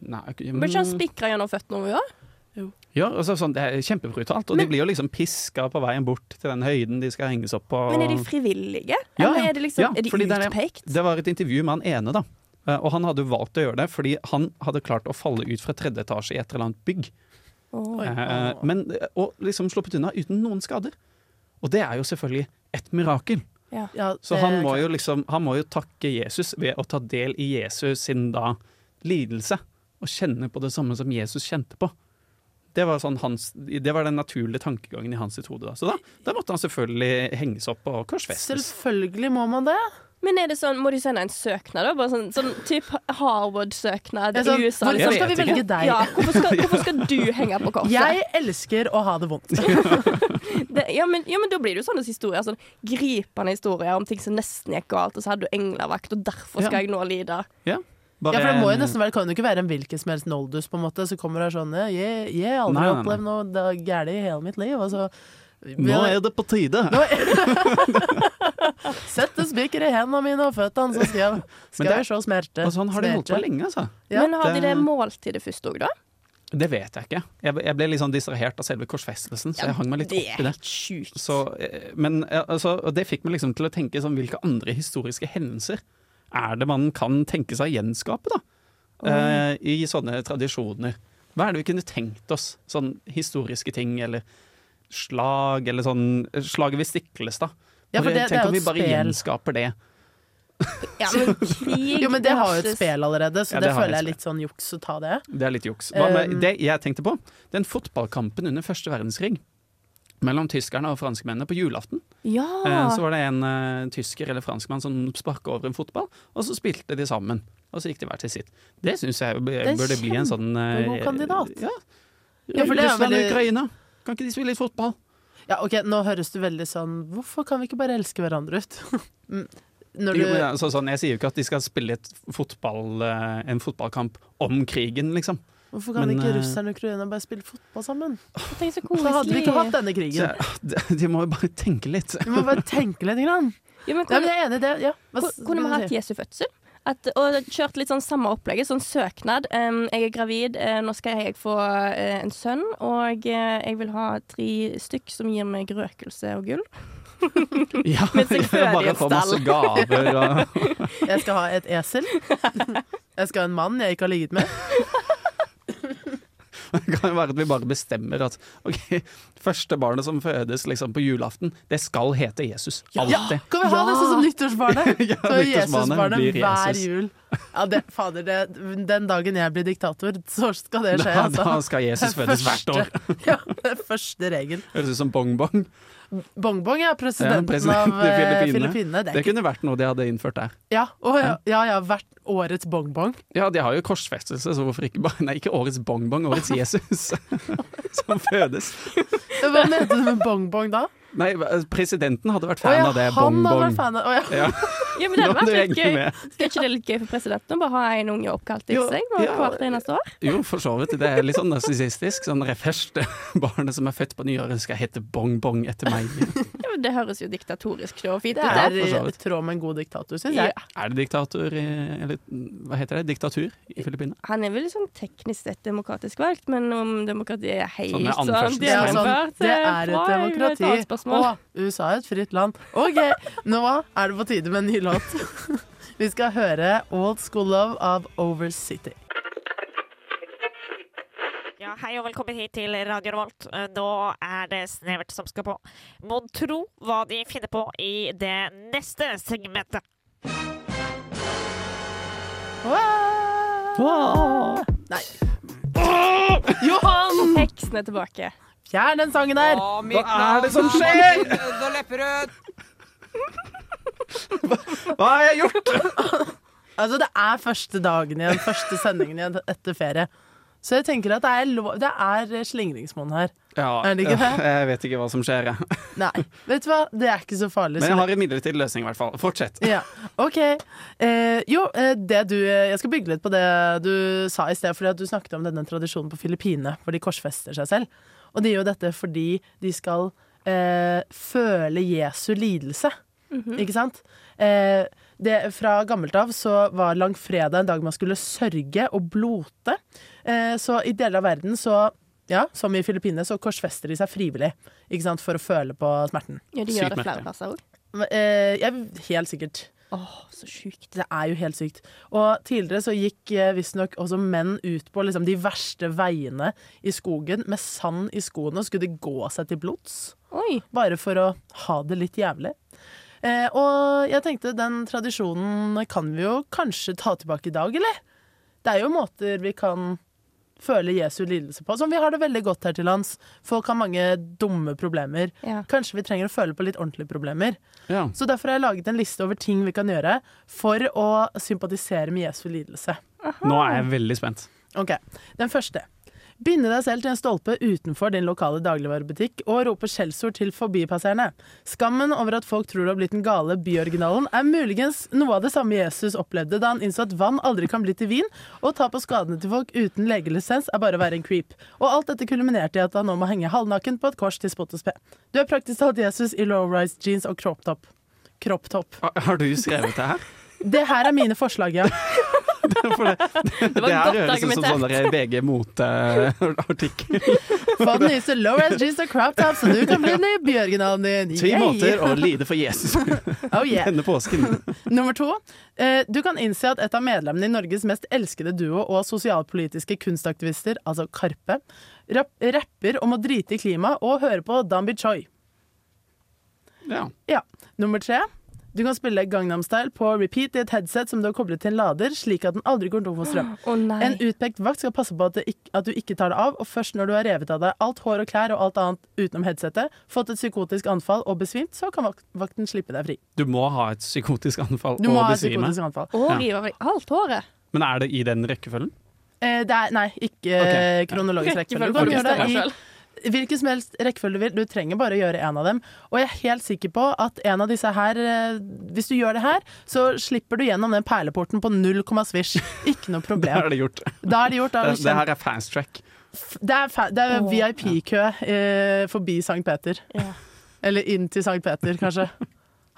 Speaker 8: Nei, ok,
Speaker 9: Ble ikke han
Speaker 8: mm.
Speaker 9: spikra gjennom føttene over òg?
Speaker 8: ja, altså, sånn, det er kjempebrutalt, og de
Speaker 9: Men-
Speaker 8: blir jo liksom piska på veien bort til den høyden de skal henges opp på.
Speaker 9: Men er de frivillige?
Speaker 8: Ja,
Speaker 9: Eller er de, liksom,
Speaker 8: ja,
Speaker 9: er de
Speaker 8: fordi det er-
Speaker 9: utpekt?
Speaker 8: Det var et intervju med han ene, da. Eh, Og han hadde jo valgt å gjøre det fordi han hadde klart å falle ut fra tredje etasje i et eller annet bygg.
Speaker 9: Åh.
Speaker 8: Eh, men, og liksom sluppet unna uten noen skader. Og det er jo selvfølgelig et mirakel.
Speaker 7: Ja,
Speaker 8: Så
Speaker 7: det-
Speaker 8: han må jo liksom Han må jo takke Jesus ved å ta del i Jesus sin da lidelse. Og kjenne på det samme som Jesus kjente på. Det var, sånn hans, det var den naturlige tankegangen i hans sitt hode. Da. Så da, da måtte han selvfølgelig henges opp og korsfestes.
Speaker 7: Selvfølgelig må man det.
Speaker 9: Men er det sånn, må de sende en søknad, da? Bare sånn, sånn type Harvard-søknad
Speaker 7: Ja, sånn,
Speaker 9: i USA?
Speaker 7: hvorfor
Speaker 9: liksom?
Speaker 8: skal vi
Speaker 7: Jeg vet velge ikke. deg?
Speaker 9: Ja, hvorfor skal, hvorfor skal du henge på korset?
Speaker 7: Jeg elsker å ha det vondt.
Speaker 9: Det, ja, men, ja, men da blir det jo sånne historier. Sånn gripende historier om ting som nesten gikk galt, og så hadde du englevakt, og derfor skal
Speaker 8: Ja.
Speaker 9: jeg nå lide.
Speaker 8: Bare-
Speaker 7: Ja, for det må jo
Speaker 8: Um,
Speaker 7: nesten være, kan jo ikke være en hvilken som helst noldus, på en måte. Så kommer det sånn Jeg yeah, yeah, jeg har aldri
Speaker 8: Nei, nei, nei.
Speaker 7: opplevd noe da- gærent i hele mitt liv. Og så
Speaker 8: Nå er det på tide!
Speaker 7: Nå- Sette spiker i hendene mine og føttene, så skal jeg, skal
Speaker 8: Men det-
Speaker 7: jeg se smerte.
Speaker 8: Og sånn har de holdt på
Speaker 7: Smerte.
Speaker 8: lenge, altså.
Speaker 7: Ja,
Speaker 9: men har de
Speaker 8: det-
Speaker 9: det måltidet først òg, da?
Speaker 8: Det vet jeg ikke. Jeg, jeg ble litt sånn distrahert av selve korsfestelsen, så jeg hang meg litt
Speaker 9: det
Speaker 8: opp i
Speaker 9: er
Speaker 8: det.
Speaker 9: helt sjukt.
Speaker 8: Så, eh, men eh, altså, og det fikk meg liksom til å tenke sånn, hvilke andre historiske hendelser er det man kan tenke seg å gjenskape da? Eh, I sånne tradisjoner. Hva er det vi kunne tenkt oss? Sånn historiske ting eller slag eller sånn Slaget ved Stiklestad.
Speaker 7: Ja, for
Speaker 8: Bare
Speaker 7: det- det er
Speaker 8: Tenk
Speaker 7: jo
Speaker 8: om vi
Speaker 7: et
Speaker 8: bare
Speaker 7: spel.
Speaker 8: gjenskaper det.
Speaker 9: Ja, men krig
Speaker 7: Jo, men det har jo et
Speaker 9: versus-
Speaker 7: spel allerede, så
Speaker 8: Ja,
Speaker 7: det,
Speaker 8: det har
Speaker 7: føler
Speaker 8: et
Speaker 7: jeg er litt sånn juks å ta det.
Speaker 8: Det er litt juks. Hva med
Speaker 7: Um,
Speaker 8: det jeg tenkte på? Den fotballkampen under første verdenskrig mellom tyskerne og franskmennene på julaften.
Speaker 9: Ja.
Speaker 7: Ah.
Speaker 8: Eh, Så var det en eh, tysker eller franskmann som sparka over en fotball, og så spilte de sammen. Og så gikk de hver til sitt. Det syns jeg b-
Speaker 7: er
Speaker 8: burde bli en sånn eh,
Speaker 7: kjempegod kandidat.
Speaker 8: Ja.
Speaker 7: Ja, for det er
Speaker 8: Russland og
Speaker 7: veldig-
Speaker 8: Ukraina. Kan ikke de spille litt fotball?
Speaker 7: Ja, ok, nå høres du veldig sånn Hvorfor kan vi ikke bare elske hverandre ut? Mm, Når
Speaker 8: Jo, men
Speaker 7: du,
Speaker 8: altså, sånn, jeg sier jo ikke at de skal spille et fotball, eh, en fotballkamp om krigen, liksom.
Speaker 7: hvorfor kan
Speaker 8: men,
Speaker 7: ikke
Speaker 8: eh,
Speaker 7: russerne og ukrainerne bare spille fotball sammen?
Speaker 9: Tenk så
Speaker 7: Så hadde vi
Speaker 9: koselig.
Speaker 7: ikke hatt denne
Speaker 8: Så,
Speaker 7: krigen.
Speaker 8: de- de må jo bare tenke litt.
Speaker 7: Vi må bare tenke litt. Grann.
Speaker 9: Ja, men
Speaker 7: Ja, men
Speaker 9: kunne,
Speaker 7: jeg er enig i det. Ja. Hva s-
Speaker 9: kunne vi
Speaker 7: skulle du
Speaker 9: hatt
Speaker 7: si?
Speaker 9: Jesu fødsel? At, og kjørt litt sånn samme opplegget, sånn søknad. Em, jeg er gravid, eh, nå skal jeg få eh, en sønn, og eh, jeg vil ha tre stykk som gir meg røkelse og gull.
Speaker 8: Ja,
Speaker 9: Mens jeg føder i
Speaker 8: bare
Speaker 9: et
Speaker 8: få masse
Speaker 9: stall.
Speaker 8: gaver og
Speaker 7: Jeg skal ha et esel. Jeg skal ha en mann jeg ikke har ligget med.
Speaker 8: Det kan jo være at vi bare bestemmer at ok, første barnet som fødes liksom på julaften, det skal hete Jesus. Alltid.
Speaker 7: Kan vi ha det sånn som nyttårsbarnet?
Speaker 8: Ja,
Speaker 7: Så er
Speaker 8: nyttårsbarnet
Speaker 7: Jesusbarnet
Speaker 8: blir
Speaker 7: hver
Speaker 8: Jesus.
Speaker 7: jul. Ja, det, fader, det, den dagen jeg blir diktator, så skal det skje.
Speaker 8: Da, da
Speaker 7: Altså.
Speaker 8: skal Jesus fødes hvert år.
Speaker 7: Ja, det er første regel.
Speaker 8: Høres ut som bongbong.
Speaker 7: Bongbong er presidenten
Speaker 8: Ja, president
Speaker 7: av
Speaker 8: i
Speaker 7: eh,
Speaker 8: Filippinene.
Speaker 7: Filippinene. Det er
Speaker 8: Det
Speaker 7: ikke,
Speaker 8: kunne vært noe de hadde innført der.
Speaker 7: ja, å, ja, ja, ja, hvert årets bongbong.
Speaker 8: Ja, de har jo korsfestelse, så hvorfor ikke bare Nei, ikke årets bongbong, årets Jesus som fødes.
Speaker 7: Hva mente du med bongbong da?
Speaker 8: Nei, presidenten hadde vært
Speaker 7: Å,
Speaker 8: fan
Speaker 7: ja,
Speaker 8: av det.
Speaker 7: han har
Speaker 8: Bongbong.
Speaker 7: vært fan av å, ja.
Speaker 9: Ja, men det
Speaker 8: Ja, det er
Speaker 9: hadde vært litt
Speaker 8: egentlig
Speaker 9: gøy.
Speaker 8: med.
Speaker 9: Skal ikke det litt gøy for presidenten å bare ha en unge oppkalt etter
Speaker 8: Jo,
Speaker 9: seg og
Speaker 8: ja.
Speaker 9: hvert eneste år?
Speaker 8: Jo, for så vidt. Det er litt sånn narsissistisk. Sånn det første barnet som er født på nyåret, skal hete bongbong etter meg.
Speaker 9: Ja, men det høres jo diktatorisk og fint ut.
Speaker 7: Det
Speaker 8: Ja,
Speaker 7: er
Speaker 8: for så
Speaker 7: i
Speaker 8: vidt.
Speaker 7: tråd med en god diktator, syns
Speaker 9: Ja.
Speaker 7: jeg.
Speaker 8: Er det diktator i Eller hva heter det? Diktatur i Filippinene?
Speaker 9: Han er vel sånn teknisk sett demokratisk valgt, men om demokratiet er helt
Speaker 8: Sånn med
Speaker 9: sånn
Speaker 8: anførselstegn.
Speaker 7: Det er, sånn,
Speaker 9: gjennomført,
Speaker 7: det
Speaker 9: eh,
Speaker 7: er
Speaker 9: bra,
Speaker 7: et
Speaker 9: jeg vil ta et
Speaker 7: demokrati.
Speaker 9: spørsmål.
Speaker 7: Og USA er et fritt land. OK, nå er det på tide med en ny låt. Vi skal høre Old School Love av Over City.
Speaker 10: Ja, hei og velkommen hit til Radio Revolt. Eh, Nå er det Snevert som skal på. Mon tro hva de finner på i det neste segmentet.
Speaker 8: Wow.
Speaker 7: Johan!
Speaker 9: Heksene er tilbake.
Speaker 7: Fjern den sangen der!
Speaker 8: Hva er det som skjer? Hva har jeg gjort?
Speaker 7: Altså, det er første dagen igjen, første sendingen igjen etter ferie. Så jeg tenker at det er, lov, det er slingringsmonn her.
Speaker 8: Ja,
Speaker 7: Er det ikke det?
Speaker 8: Jeg vet ikke hva som skjer. jeg.
Speaker 7: Nei, vet du hva? Det er ikke så farlig.
Speaker 8: Men
Speaker 7: så
Speaker 8: jeg har en midlertidig løsning, i hvert fall. Fortsett.
Speaker 7: Ja, ok eh, Jo, eh, det du Jeg skal bygge litt på det du sa i sted Fordi at du snakket om denne tradisjonen på Filippine Hvor de korsfester seg selv Og de gjør dette fordi de skal eh, Føle Jesu lidelse Ikke sant? Eh, det, fra gammelt av så var langfredag en dag man skulle sørge og blote eh, Så i deler av verden så ja, som i Filippine, så korsfester de seg frivillig ikke sant, For å føle på smerten
Speaker 9: Ja, de
Speaker 8: Sykt
Speaker 9: gjør det
Speaker 8: merkelig.
Speaker 9: flere plasser òg.
Speaker 7: eh, jeg, Helt sikkert
Speaker 9: Åh, så sjukt.
Speaker 7: det er jo helt sykt. Og tidligere så gikk eh, visstnok også menn ut på liksom, de verste veiene i skogen med sand i skoene, og skulle de gå seg til blods.
Speaker 9: Oi.
Speaker 7: Bare for å ha det litt jævlig. Eh, og jeg tenkte den tradisjonen kan vi jo kanskje ta tilbake i dag, eller? Det er jo måter vi kan føle Jesu lidelse på, som vi har det veldig godt her til lands. Folk har mange dumme problemer.
Speaker 9: Ja.
Speaker 7: Kanskje vi trenger å føle på litt ordentlige problemer.
Speaker 8: Ja.
Speaker 7: Så derfor har jeg laget en liste over ting vi kan gjøre for å sympatisere med Jesu lidelse.
Speaker 8: Nå er jeg veldig spent.
Speaker 7: Ok, Den første. Binde deg selv til en stolpe utenfor din lokale dagligvarebutikk og rope skjellsord til forbipasserende. Skammen over at folk tror du har blitt den gale byoriginalen, er muligens noe av det samme Jesus opplevde da han innså at vann aldri kan bli til vin, og å ta på skadene til folk uten legelisens er bare å være en creep. Og alt dette kulminerte i at han nå må henge halvnaken på et kors til spott og spe. Du er praktisk talt Jesus i low-rise jeans og crop top. Crop top.
Speaker 8: Har- Har du skrevet det her?
Speaker 7: Det her er mine forslag, ja.
Speaker 8: For det, det,
Speaker 9: var
Speaker 8: her
Speaker 9: godt
Speaker 8: høres ut som sånn der VG eh, Mote-artikkel.
Speaker 7: Få den nyeste low-rise jeans og crop top, så du kan bli den nye byoriginalen din.
Speaker 8: Tre
Speaker 7: Yay!
Speaker 8: måter å lide for Jesus
Speaker 7: Oh, yeah.
Speaker 8: denne påsken.
Speaker 7: Nummer to. Eh, du kan innse at et av medlemmene i Norges mest elskede duo og sosialpolitiske kunstaktivister, altså Karpe, rap rapper om å drite i klima og høre på Dambi Choi.
Speaker 8: Ja.
Speaker 7: Ja. Nummer tre. Du kan spille Gangnam Style på repeat i et headset som du har koblet til en lader, slik at den aldri går tom for strøm.
Speaker 9: Å nei.
Speaker 7: En utpekt vakt skal passe på at, det ikk- at du ikke tar det av, og først når du har revet av deg alt hår og klær og alt annet utenom headsetet, fått et psykotisk anfall og besvimt, så kan vak vakten slippe deg fri.
Speaker 8: Du må ha et psykotisk anfall
Speaker 7: Du må
Speaker 8: og
Speaker 7: ha et
Speaker 8: besvime.
Speaker 7: psykotisk anfall.
Speaker 9: Å,
Speaker 8: Ja.
Speaker 9: rive av deg alt håret.
Speaker 8: Men er det i den rekkefølgen?
Speaker 7: Eh, det er, nei, ikke eh, kronologisk rekkefølge. Du kan gjøre det i hvilken som helst rekkefølge du vil. Du trenger bare å gjøre en av dem. Og jeg er helt sikker på at en av disse her eh, Hvis du gjør det her, så slipper du gjennom den perleporten på null komma svisj. Ikke noe
Speaker 8: Da er
Speaker 7: problem.
Speaker 8: det gjort.
Speaker 7: Da er det gjort. Da er
Speaker 8: Det,
Speaker 7: det,
Speaker 8: det
Speaker 7: kjent.
Speaker 8: her er fast track.
Speaker 7: det er, fa- det er VIP-kø eh, forbi Sankt Peter.
Speaker 9: Ja.
Speaker 7: Eller inn til Sankt Peter, kanskje.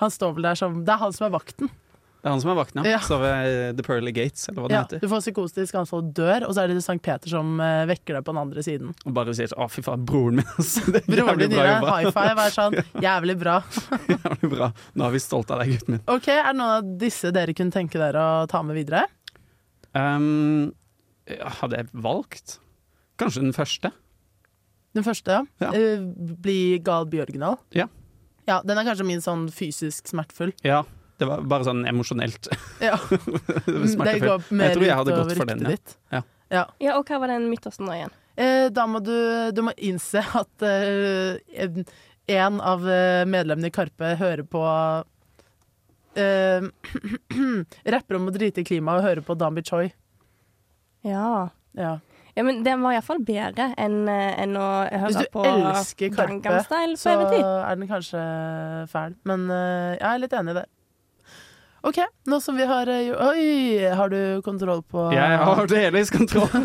Speaker 7: Han står vel der som Det er han som er vakten.
Speaker 8: Det er han som er vakten, ja.
Speaker 7: Ja.
Speaker 8: Så ved eh, The Pearly Gates, eller hva det
Speaker 7: Ja,
Speaker 8: heter.
Speaker 7: du får psykotisk anfall og dør, og så er det Sankt Peter som eh, vekker deg på den andre siden.
Speaker 8: Og bare sier sånn Å, fy faen, broren min, ass. Det er
Speaker 7: Broren
Speaker 8: jævlig
Speaker 7: din
Speaker 8: bra
Speaker 7: gir deg en
Speaker 8: jobba.
Speaker 7: high five er sånn jævlig bra.
Speaker 8: Jævlig bra. Nå er vi stolte av deg, gutten min.
Speaker 7: Ok, Er det noen av disse dere kunne tenke dere å ta med videre?
Speaker 8: Ehm, hadde jeg valgt? Kanskje den første?
Speaker 7: Den første, ja.
Speaker 8: Ja.
Speaker 7: Eh, bli gal byoriginal.
Speaker 8: Ja.
Speaker 7: ja. Den er kanskje min sånn fysisk smertefull.
Speaker 8: Ja. Det var bare sånn emosjonelt.
Speaker 7: Ja. Det
Speaker 8: Smertefull.
Speaker 7: går mer
Speaker 8: Jeg tror jeg hadde
Speaker 7: utover
Speaker 8: gått for den,
Speaker 7: ryktet
Speaker 8: ja.
Speaker 7: ditt.
Speaker 9: Ja, og hva var den Midtøsten nå igjen?
Speaker 7: Eh, da må du, du må innse at eh, en- en av eh, medlemmene i Karpe hører på eh, Rapper om å drite i klimaet og hører på Dambi Choi.
Speaker 9: Ja.
Speaker 7: Ja.
Speaker 9: Ja, men den var iallfall bedre enn eh, enn å
Speaker 7: Hvis
Speaker 9: høre
Speaker 7: du
Speaker 9: på
Speaker 7: elsker Karpe,
Speaker 9: Gangnam Style på
Speaker 7: så
Speaker 9: eventid.
Speaker 7: er den kanskje fæl. Men eh, jeg er litt enig i det. OK, nå som vi har eh, jo- Oi! Har du kontroll på
Speaker 8: Jeg har delvis kontroll.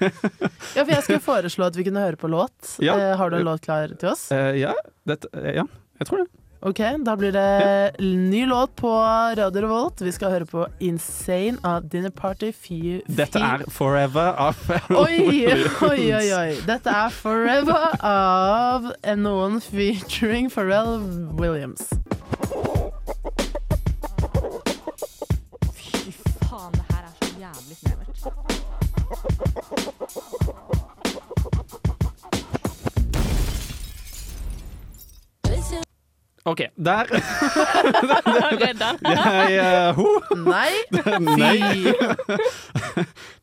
Speaker 7: Ja, for jeg skulle foreslå at vi kunne høre på låt.
Speaker 8: Ja.
Speaker 7: Eh, har du en låt klar til oss?
Speaker 8: Eh, ja, dette, eh, ja, jeg tror det.
Speaker 7: OK, da blir det ny låt på Radio Revolt. Vi skal høre på Insane av Dinner Party Fy...
Speaker 8: Dette
Speaker 7: Fy-
Speaker 8: er Forever av
Speaker 7: Oi, oi, oi, oi. Dette er Forever av noen featuring Pharrell Williams.
Speaker 1: Fy faen, det her er så jævlig snevert.
Speaker 8: OK, der
Speaker 10: Redd han.
Speaker 8: jeg, eh, ho,
Speaker 7: Nei!
Speaker 8: Nei.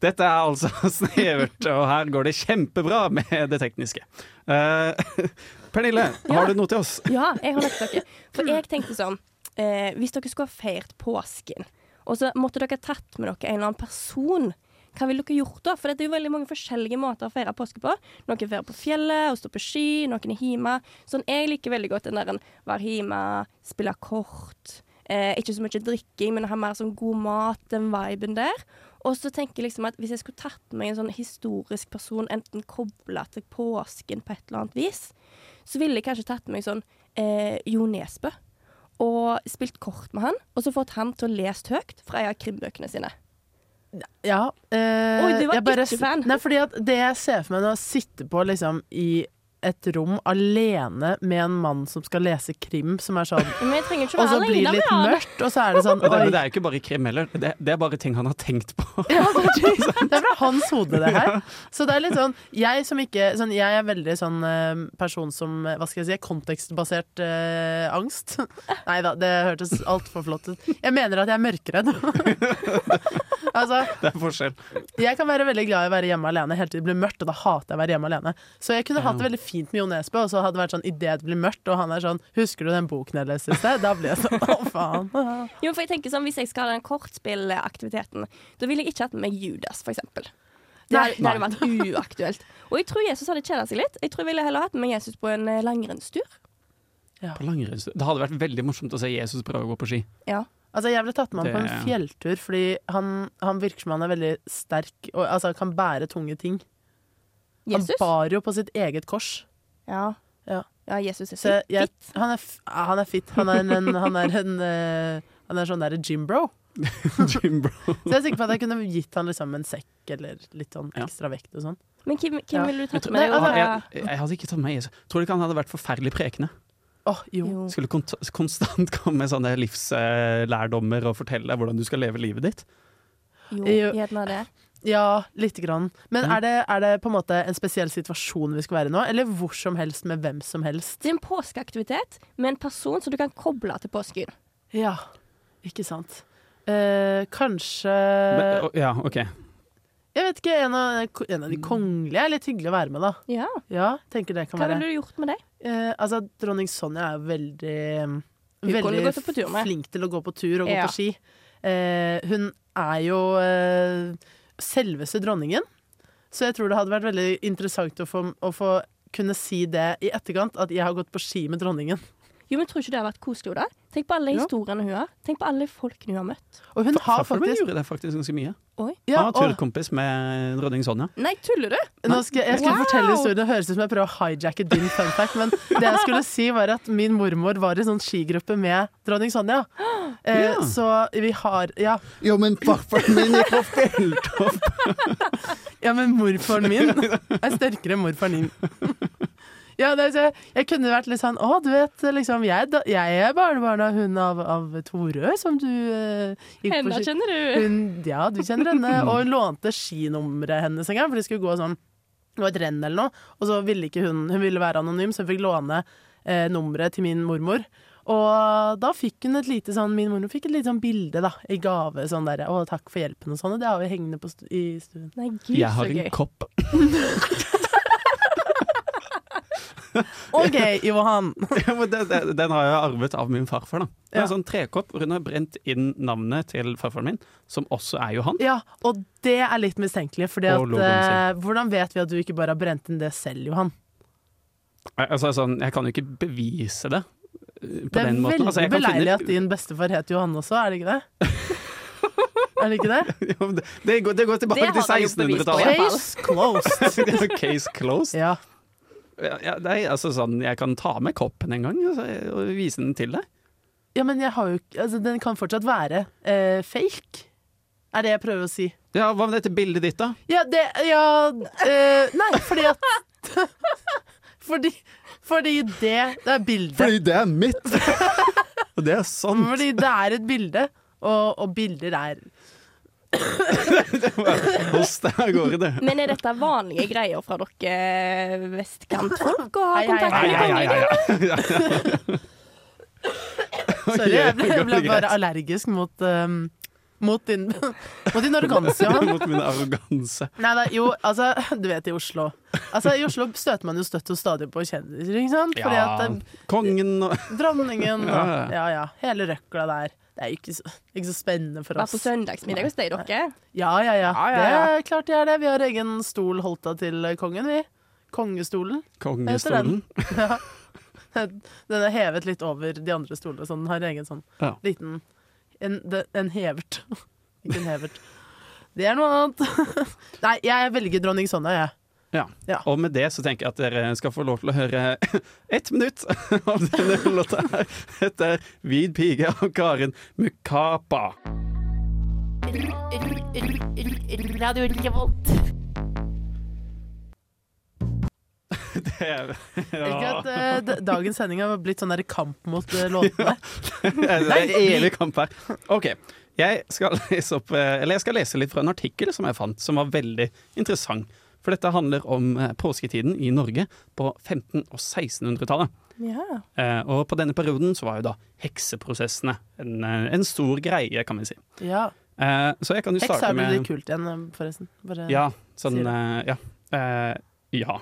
Speaker 8: Dette er altså snevert, og her går det kjempebra med det tekniske. Eh, Pernille,
Speaker 9: Ja.
Speaker 8: har du noe til oss?
Speaker 9: Ja, jeg har lagt dere. For jeg tenkte sånn eh, Hvis dere skulle ha feiret påsken, og så måtte dere tatt med dere en eller annen person, hva ville dere gjort da? For det er jo veldig mange forskjellige måter å feire påske på. Noen feirer på fjellet og står på ski, noen er hjemme. Sånn, jeg liker veldig godt den der en være hjemme, spille kort. Eh, ikke så mye drikking, men ha mer sånn god mat, den viben der. Og så tenker jeg liksom at hvis jeg skulle tatt med en sånn historisk person, enten kobla til påsken på et eller annet vis, så ville jeg kanskje tatt med meg sånn eh, Jo Nesbø og spilt kort med han, og så fått han til å lese høyt fra en av krimbøkene sine.
Speaker 7: Ja. eh,
Speaker 9: Oi, du var
Speaker 7: jeg bare
Speaker 9: ikke
Speaker 7: s-
Speaker 9: fan.
Speaker 7: Nei, fordi at det jeg ser for meg nå, er å sitte på liksom i et rom alene med en mann som skal lese krim, som er sånn
Speaker 9: Men jeg trenger ikke
Speaker 7: Og så
Speaker 9: være
Speaker 7: blir
Speaker 9: alene
Speaker 7: det
Speaker 9: med
Speaker 7: litt
Speaker 9: han.
Speaker 7: mørkt, og så er det sånn
Speaker 8: Og det, men
Speaker 7: Oi.
Speaker 8: det er jo ikke bare krim heller, det, det er bare ting han har tenkt på.
Speaker 7: Ja, det er- det er fra hans hode, det her. Så det er litt sånn Jeg som ikke sånn, Jeg er veldig sånn eh, person som eh, Hva skal jeg si? Kontekstbasert eh, angst. Nei da, det hørtes altfor flott ut. Jeg mener at jeg er mørkeredd. altså,
Speaker 8: Det er forskjell.
Speaker 7: jeg kan være veldig glad i å være hjemme alene helt til det blir mørkt, og da hater jeg å være hjemme alene. Så jeg kunne hatt det veldig fint med Jo Nesbø, og så hadde det vært sånn idet det blir mørkt, og han er sånn Husker du den boken jeg leste i sted? Da blir jeg sånn Å, faen.
Speaker 9: Jo, for jeg tenker sånn, Hvis jeg skal ha den kortspillaktiviteten, da ville jeg ikke hatt med meg Judas, f.eks. Det hadde det hadde vært uaktuelt. Og jeg tror Jesus hadde kjeda seg litt. Jeg tror jeg ville heller hatt med Jesus på en eh, langrennstur.
Speaker 8: På langrenns- Det hadde vært veldig morsomt å se Jesus prøve å gå på ski.
Speaker 9: Ja.
Speaker 7: Altså, jeg ble tatt med ham på
Speaker 8: Det-
Speaker 7: en fjelltur fordi han, han virker som han er veldig sterk og altså, kan bære tunge ting.
Speaker 9: Jesus?
Speaker 7: Han bar jo på sitt eget kors.
Speaker 9: Ja.
Speaker 7: Ja.
Speaker 9: ja, Jesus er
Speaker 7: Så jeg, jeg,
Speaker 9: fit. fit.
Speaker 7: han, er, f- ja, han er fit. Han er en, han er en, eh, han er sånn derre gymbro.
Speaker 8: Jim Brown.
Speaker 7: Så jeg er sikker på at jeg kunne gitt han liksom en sekk eller litt sånn
Speaker 8: Ja.
Speaker 7: ekstra vekt og sånn.
Speaker 9: Men hvem, hvem
Speaker 7: Ja.
Speaker 9: ville du
Speaker 8: Jeg,
Speaker 9: tatt
Speaker 8: tror,
Speaker 9: med deg?
Speaker 8: jeg,
Speaker 9: over-
Speaker 8: jeg, jeg hadde ikke tatt med Jesus. Tror du ikke han hadde vært forferdelig prekende?
Speaker 7: Åh, jo.
Speaker 9: Jo.
Speaker 8: Skulle kont konstant komme med sånne livslærdommer og fortelle deg hvordan du skal leve livet ditt.
Speaker 9: Jo,
Speaker 7: Jo.
Speaker 9: gjerne det.
Speaker 7: Ja, lite grann. Men
Speaker 8: Ja.
Speaker 7: er det, er det på en måte en spesiell situasjon vi skal være i nå? Eller hvor som helst med hvem som helst?
Speaker 9: Det er en påskeaktivitet med en person som du kan koble til påsken.
Speaker 7: Ja, ikke sant. Eh, kanskje
Speaker 8: Men, og- ja, ok.
Speaker 7: Jeg vet ikke, en av, en av de kongelige er litt hyggelig å være med, da.
Speaker 9: Mm. Ja.
Speaker 7: Ja, tenker det kan
Speaker 9: Hva
Speaker 7: være.
Speaker 9: ville du gjort med det?
Speaker 7: Eh, altså, dronning Sonja er jo veldig mm,
Speaker 9: Hun kan du
Speaker 7: Veldig
Speaker 9: gå til på tur med.
Speaker 7: flink til å gå på tur og gå
Speaker 9: Ja.
Speaker 7: på ski. Eh, hun er jo eh, selveste dronningen, så jeg tror det hadde vært veldig interessant å få, å få kunne si det i etterkant, at jeg har gått på ski med dronningen.
Speaker 9: Jo, men Tror ikke det har vært koselig? Oda? Tenk på alle
Speaker 7: Jo.
Speaker 9: historiene hun har. Tenk på alle folkene hun har møtt.
Speaker 7: Og hun har
Speaker 8: Farfar min
Speaker 7: faktisk
Speaker 8: gjorde det faktisk ganske mye.
Speaker 9: Oi.
Speaker 7: ja,
Speaker 8: han var
Speaker 7: og,
Speaker 8: turkompis med dronning Sonja.
Speaker 9: Nei, tuller du?
Speaker 7: nå skal, Jeg skulle fortelle historien, det høres ut som jeg prøver å hijacke din fun fact, men det jeg skulle si var at min mormor var i sånn skigruppe med dronning Sonja. Eh,
Speaker 8: Ja.
Speaker 7: Så vi har Ja,
Speaker 8: Jo, men farfaren min gikk på felttopp!
Speaker 7: Ja, men morfaren min er sterkere enn morfaren din. Ja, det er, så jeg- jeg kunne vært litt sånn Å, du vet, liksom Jeg, er da- jeg er barnebarn av hun av, av Torø, som du eh, gikk
Speaker 9: Henne
Speaker 7: på ski
Speaker 9: kjenner du.
Speaker 7: hun, Ja, du kjenner henne. Og hun lånte skinummeret hennes en gang, for de skulle gå sånn Det var et renn eller noe, og så ville ikke hun Hun ville være anonym, så hun fikk låne eh, nummeret til min mormor. Og da fikk hun et lite sånn Min mormor fikk et lite sånn bilde, da, i gave. Sånn derre Å, takk for hjelpen og sånn. Og det har vi hengende på stu i stuen.
Speaker 9: Nei, gud,
Speaker 8: Jeg
Speaker 9: så
Speaker 8: har en
Speaker 9: gøy.
Speaker 8: kopp.
Speaker 7: OK, Johan.
Speaker 8: Ja, men den, den- den har jeg arvet av min farfar. da Det er En
Speaker 7: Ja.
Speaker 8: sånn trekopp hvor hun har brent inn navnet til farfaren min, som også er Johan.
Speaker 7: Ja, og det er litt mistenkelig, for
Speaker 8: Og logoen
Speaker 7: eh, hvordan vet vi at du ikke bare har brent inn det selv, Johan?
Speaker 8: Altså, sånn, jeg kan jo ikke bevise det eh, på
Speaker 7: Det er
Speaker 8: den måten.
Speaker 7: veldig
Speaker 8: Altså, jeg kan
Speaker 7: beleilig
Speaker 8: finne-
Speaker 7: at din bestefar het Johan også, er det ikke det? er det ikke det?
Speaker 8: Ja, men det, det, går, det går tilbake
Speaker 9: Det
Speaker 8: til
Speaker 9: har han jo bevis på, ja.
Speaker 7: Case closed.
Speaker 8: 1600-tallet. Case closed.
Speaker 7: Ja.
Speaker 8: Ja, ja, nei, altså, sånn, jeg kan ta med koppen en gang altså, og vise den til deg.
Speaker 7: ja, men jeg har jo ikke altså, Den kan fortsatt være eh, fake, er det jeg prøver å si.
Speaker 8: Ja, Hva med dette bildet ditt, da?
Speaker 7: Ja, det Ja eh, Nei, fordi at Fordi, fordi det Det er bildet.
Speaker 8: det er mitt! og det er sånn. sant.
Speaker 7: Fordi det er et bilde, og, og bilder er
Speaker 8: Hos deg av gårde, det.
Speaker 9: Men er dette vanlige greier fra dere vestkantfolk å ha
Speaker 7: Hei, hei,
Speaker 9: kontakt
Speaker 8: Nei,
Speaker 9: med?
Speaker 8: ja, ja, ja, ja.
Speaker 7: Sorry, jeg ble, jeg
Speaker 8: går
Speaker 7: ble
Speaker 8: greit.
Speaker 7: bare allergisk mot, ehm, mot, din, mot din arroganse, Johan.
Speaker 8: Mot min arroganse.
Speaker 7: Nei da, jo, altså, du vet i Oslo. Altså, I Oslo støter man jo støtt og stadig på kjendiser, ikke sant? Fordi
Speaker 8: Ja,
Speaker 7: at eh,
Speaker 8: kongen og
Speaker 7: dronningen og
Speaker 8: Ja, ja.
Speaker 7: Ja ja, hele røkla der. Det er jo ikke så, ikke så spennende for
Speaker 9: Vær på
Speaker 7: oss.
Speaker 9: søndagsmiddag hos deg, dere.
Speaker 7: Ja ja ja,
Speaker 9: Ja, ja, ja.
Speaker 7: det er klart det er det. Vi har egen stol holdt av til kongen, vi. Kongestolen.
Speaker 8: kongestolen.
Speaker 7: Ja. Den er hevet litt over de andre stolene, så den har egen sånn
Speaker 8: Ja.
Speaker 7: liten en, de- en hevert. Ikke en hevert. Det er noe annet. Nei, jeg velger dronning Sonja, jeg.
Speaker 8: Og med det så tenker jeg at dere skal få lov til å høre ett minutt av denne låta her. Dette er 'Hvit pige' av Karin Mukapa.
Speaker 10: Radio Revolt.
Speaker 8: Det er,
Speaker 7: Ikke
Speaker 8: ja.
Speaker 7: at eh, d- dagens sending har blitt sånn der kamp mot eh, låtene.
Speaker 8: det er en evig kamp her. OK. Jeg skal, lese opp, eh, eller jeg skal lese litt fra en artikkel som jeg fant, som var veldig interessant. For dette handler om eh, påsketiden i Norge på 1500- og 1600-tallet.
Speaker 7: Ja.
Speaker 8: Eh, Og på denne perioden så var jo da hekseprosessene en, eh, en stor greie, kan vi si.
Speaker 7: ja.
Speaker 8: Eh, Så jeg kan jo
Speaker 7: Heks
Speaker 8: starte
Speaker 7: er
Speaker 8: med
Speaker 7: vel litt kult igjen, eh, forresten. Bare,
Speaker 8: Ja, sånn
Speaker 7: sier du.
Speaker 8: eh, Ja. Eh, ja.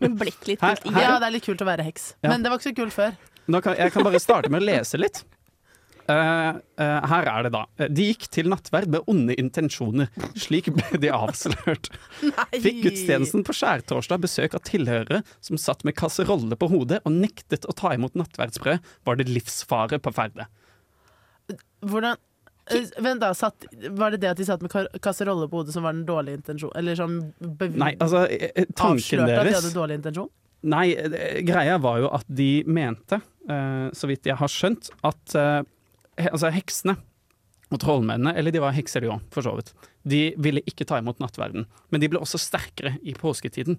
Speaker 9: Men blitt litt
Speaker 8: Her- her-
Speaker 9: kult igjen.
Speaker 7: ja, det er litt kult å være heks.
Speaker 8: Ja.
Speaker 7: Men det var ikke så kult før.
Speaker 8: Nå kan, jeg kan bare starte med å lese litt. Eh, eh, her er det, da. Eh, De gikk til nattverd med onde intensjoner. Slik ble de avslørt.
Speaker 7: Nei.
Speaker 8: Fikk gudstjenesten på skjærtorsdag besøk av tilhørere som satt med kasserolle på hodet og nektet å ta imot nattverdsbrød, var det livsfare på ferde.
Speaker 7: Hvordan eh, Vent, da. Satt, var det det at de satt med kar- kasserolle på hodet som var den dårlige intensjonen? Eller sånn bev-
Speaker 8: Nei, altså, eh, eh, tanken
Speaker 7: avslørte at de
Speaker 8: deres
Speaker 7: hadde dårlig intensjon?
Speaker 8: Nei, eh, greia var jo at de mente, eh, så vidt jeg har skjønt, at eh, he, altså heksene og trollmennene, eller de var hekser de òg, for så vidt, de ville ikke ta imot nattverden. Men de ble også sterkere i påsketiden.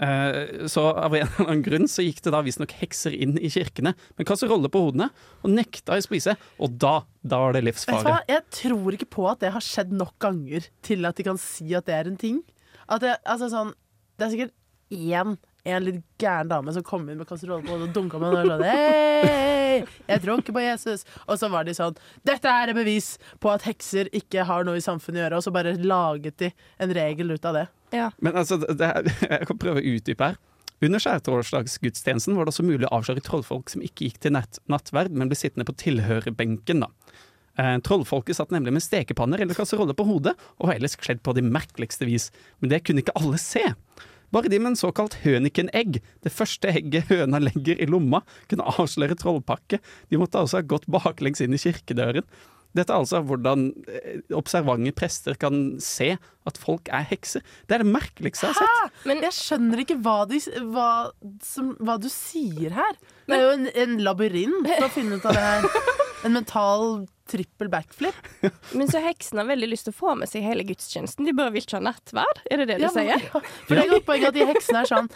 Speaker 8: Eh, Så av en eller annen grunn så gikk det da visstnok hekser inn i kirkene med kasserolle på hodene og nekta å spise, og da, da var det
Speaker 7: Vet du hva?
Speaker 8: livsfare.
Speaker 7: Jeg tror ikke på at det har skjedd nok ganger til at de kan si at det er en ting. At det, altså sånn, det er sikkert én en litt gæren dame som kom inn med kasserolle på hodet og dunka med en og sa Hei, jeg tror ikke på Jesus. Og så var de sånn Dette er et bevis på at hekser ikke har noe i samfunnet å gjøre. Og så bare laget de en regel ut av det.
Speaker 8: Men altså, det, det- jeg kan prøve å utdype her. Under skjærtorsdagsgudstjenesten var det også mulig å avsløre trollfolk som ikke gikk til nett, nattverd, men ble sittende på tilhørerbenken. da. Eh, trollfolket satt nemlig med stekepanner eller kasseroller på hodet, og var ellers kledd på de merkeligste vis. Men det kunne ikke alle se. Bare de med en såkalt hønikenegg, det første egget høna legger i lomma, kunne avsløre trollpakke. De måtte altså ha gått baklengs inn i kirkedøren. Dette er altså hvordan eh, observante prester kan se at folk er hekser. Det er det merkeligste jeg har sett.
Speaker 9: Men-
Speaker 7: jeg skjønner ikke hva, de, hva, som, hva du sier her. Det er jo en, en labyrint for å finne ut av det her. En mental trippel backflip.
Speaker 9: Men så heksene har veldig lyst til å få med seg hele gudstjenesten. De bare vil ikke ha nattverd, er det det de
Speaker 7: Ja, men-
Speaker 9: sier?
Speaker 7: ja. For det er et godt poeng at de heksene er sånn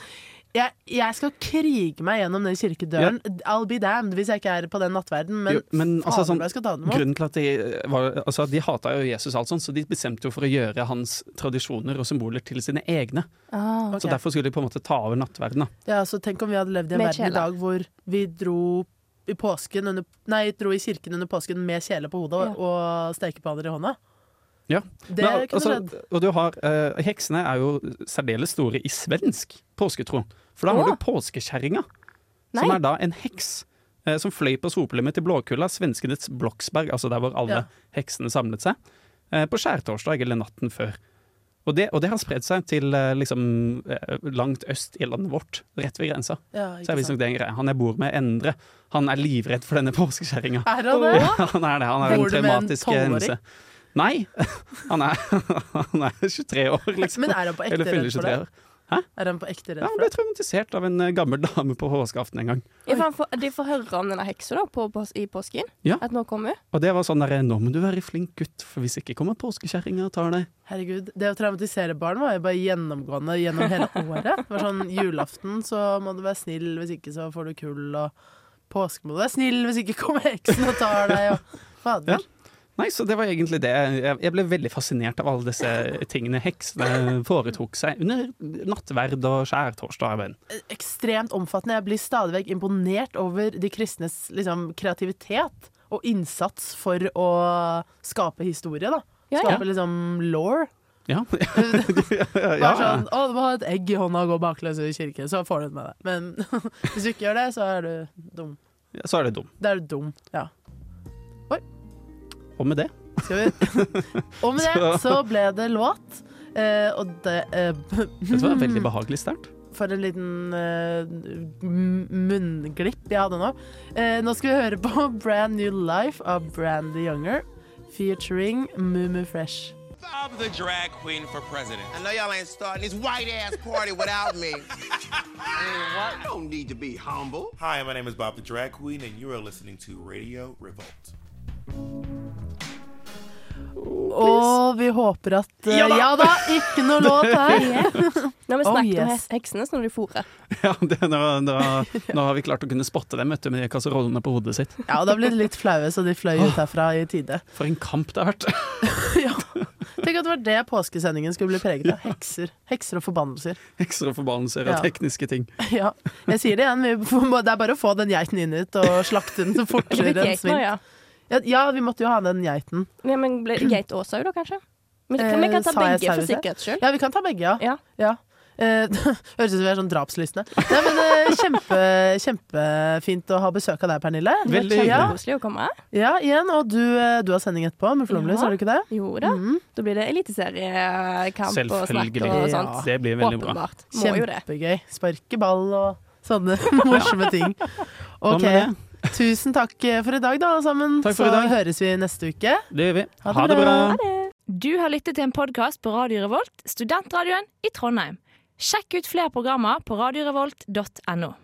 Speaker 7: jeg, jeg skal krige meg gjennom den kirkedøren. I'll be damned hvis jeg ikke er på den nattverden, men,
Speaker 8: Jo, men altså,
Speaker 7: fader,
Speaker 8: sånn-
Speaker 7: jeg skal ta den imot.
Speaker 8: Grunnen til at De eh, var, altså de hata jo Jesus, og alt sånt, så de bestemte jo for å gjøre hans tradisjoner og symboler til sine egne.
Speaker 7: Ok.
Speaker 8: Så Derfor skulle de på en måte ta over nattverden. Da.
Speaker 7: ja, så tenk om vi hadde levd i en
Speaker 9: Med
Speaker 7: verden i
Speaker 9: kjele.
Speaker 7: dag hvor vi dro i påsken under, Nei, dro i kirken under påsken med kjele på hodet og, og stekepanner i hånda.
Speaker 8: Ja.
Speaker 7: Det
Speaker 8: Men,
Speaker 7: kunne
Speaker 8: altså,
Speaker 7: skjedd.
Speaker 8: og du har, eh, Heksene er jo særdeles store i svensk påsketro. For da har
Speaker 9: Åh.
Speaker 8: du påskekjerringa, som
Speaker 9: Nei.
Speaker 8: er da en heks. eh, Som fløy på sopelemmet til Blåkulla, svenskenes Bloksberg, altså der hvor alle
Speaker 7: Ja.
Speaker 8: heksene samlet seg, eh, på skjærtorsdag eller natten før. Og det, og det har spredd seg til eh, liksom, eh, langt øst i landet vårt, rett ved grensa.
Speaker 7: Ja,
Speaker 8: Så
Speaker 7: ikke
Speaker 8: er visstnok det en greie. Han jeg bor med, Endre, han er livredd for denne påskekjerringa.
Speaker 7: sant? Er det det?
Speaker 8: Han er det. Han
Speaker 7: Bor
Speaker 8: er en
Speaker 7: du med en
Speaker 8: traumatisk
Speaker 7: tolvåring?
Speaker 8: hendelse. Nei, han er, han er 23 år, liksom.
Speaker 7: Men er han på ekte
Speaker 8: Eller fyller
Speaker 7: redd for
Speaker 8: 23
Speaker 7: det?
Speaker 8: år.
Speaker 7: Er han på ekte redd
Speaker 8: Ja, han
Speaker 7: for
Speaker 8: ble
Speaker 7: det?
Speaker 8: traumatisert av en eh, gammel dame på påskeaften en gang.
Speaker 9: Ja, for han får, de får høre om denne heksa da, på, på, i påsken.
Speaker 8: Ja.
Speaker 9: At nå kommer hun.
Speaker 8: Og det var sånn derre Nå må du være flink gutt, for hvis ikke kommer påskekjerringa og tar deg.
Speaker 7: Herregud, Det å traumatisere barn var jo bare gjennomgående gjennom hele året. Det var sånn Julaften så må du være snill, hvis ikke så får du kull. Og påske må du være snill, hvis ikke kommer heksen og tar deg. Og fader.
Speaker 8: Ja. Nei, så det var egentlig det. Jeg jeg ble veldig fascinert av alle disse tingene heksene foretok seg under nattverd og skjærtorsdagen.
Speaker 7: Ekstremt omfattende. Jeg blir stadig vekk imponert over de kristnes liksom, kreativitet og innsats for å skape historie, da.
Speaker 9: Ja, ja.
Speaker 7: Skape liksom law.
Speaker 8: Ja.
Speaker 7: Bare
Speaker 8: ja.
Speaker 7: sånn 'Å, du må ha et egg i hånda og gå bakløs i kirke', så får du det med deg. Men hvis du ikke gjør det, så er du dum.
Speaker 8: Så er det dum.
Speaker 7: Da er du dum. Ja.
Speaker 8: Og med det
Speaker 7: Skal vi Og med det så ble det låt. Eh, og det eh,
Speaker 8: Dette var veldig behagelig sterkt.
Speaker 7: For en liten eh, m- munnglipp jeg hadde nå. Eh, nå skal vi høre på Brand New Life av Brandy Younger featuring Mumu Fresh.
Speaker 11: I'm the drag queen for president.
Speaker 4: I know y'all ain't starting this white ass party without me.
Speaker 11: I don't need to be humble. Hi, my name is Bob the Drag Queen, and you are listening to Radio Revolt.
Speaker 7: Og vi håper at eh, ja, da! Ikke noe låt her.
Speaker 9: Nå har vi
Speaker 7: Oh,
Speaker 9: snakket om
Speaker 7: yes.
Speaker 9: he- heksene som de fôrer.
Speaker 8: Ja, det, nå, nå, nå har vi klart å kunne spotte dem vet du, med de kasserollene på hodet sitt.
Speaker 7: Ja, og da ble de litt flaue, så de fløy ut herfra i tide.
Speaker 8: For en kamp det har vært.
Speaker 7: ja. Tenk at det var det påskesendingen skulle bli preget av. Hekser. Hekser og forbannelser.
Speaker 8: Ekstra forbannelser og
Speaker 7: Ja.
Speaker 8: tekniske ting.
Speaker 7: Ja, jeg sier det igjen. Vi får- Det er bare å få den geiten inn hit og slakte den så fortere
Speaker 9: Det blir
Speaker 7: enn
Speaker 9: geit nå,
Speaker 7: svin.
Speaker 9: ja.
Speaker 7: Ja, ja, vi måtte jo ha den geiten.
Speaker 9: Ja, men ble det geit og sau, da, kanskje? Men
Speaker 7: Eh,
Speaker 9: kan, vi kan ta
Speaker 7: sa jeg sau
Speaker 9: begge
Speaker 7: i
Speaker 9: for
Speaker 7: sted?
Speaker 9: sikkerhets skyld.
Speaker 7: Ja, vi kan ta begge, ja.
Speaker 9: Ja.
Speaker 7: ja. Eh, Høres ut som vi er sånn drapslystne. Nei, men eh, kjempe, Kjempefint å ha besøk av deg, Pernille.
Speaker 8: Veldig
Speaker 7: ja,
Speaker 8: hyggelig.
Speaker 9: Koselig å komme.
Speaker 7: ja, igjen. Og du, eh, du har sending etterpå med Flomlys,
Speaker 9: Ja.
Speaker 7: har du ikke det?
Speaker 9: Jo da.
Speaker 7: Mm.
Speaker 9: Da blir det eliteseriekamp og snakk
Speaker 8: Selvfølgelig.
Speaker 9: og
Speaker 7: Ja.
Speaker 9: sånt.
Speaker 8: Det blir veldig bra.
Speaker 9: Åpenbart. Må jo det.
Speaker 7: Kjempegøy. Sparke ball og sånne morsomme ting.
Speaker 8: Hva
Speaker 7: OK.
Speaker 8: med
Speaker 7: Tusen takk for i dag, da, alle sammen.
Speaker 8: Takk for i dag.
Speaker 7: Så høres vi neste uke.
Speaker 8: det? Det gjør vi.
Speaker 7: Ha det
Speaker 8: Ha det
Speaker 7: bra.
Speaker 8: bra.
Speaker 10: Du har lyttet til en podkast på Radio Revolt, studentradioen i Trondheim. Sjekk ut flere programmer på radiorevolt.no.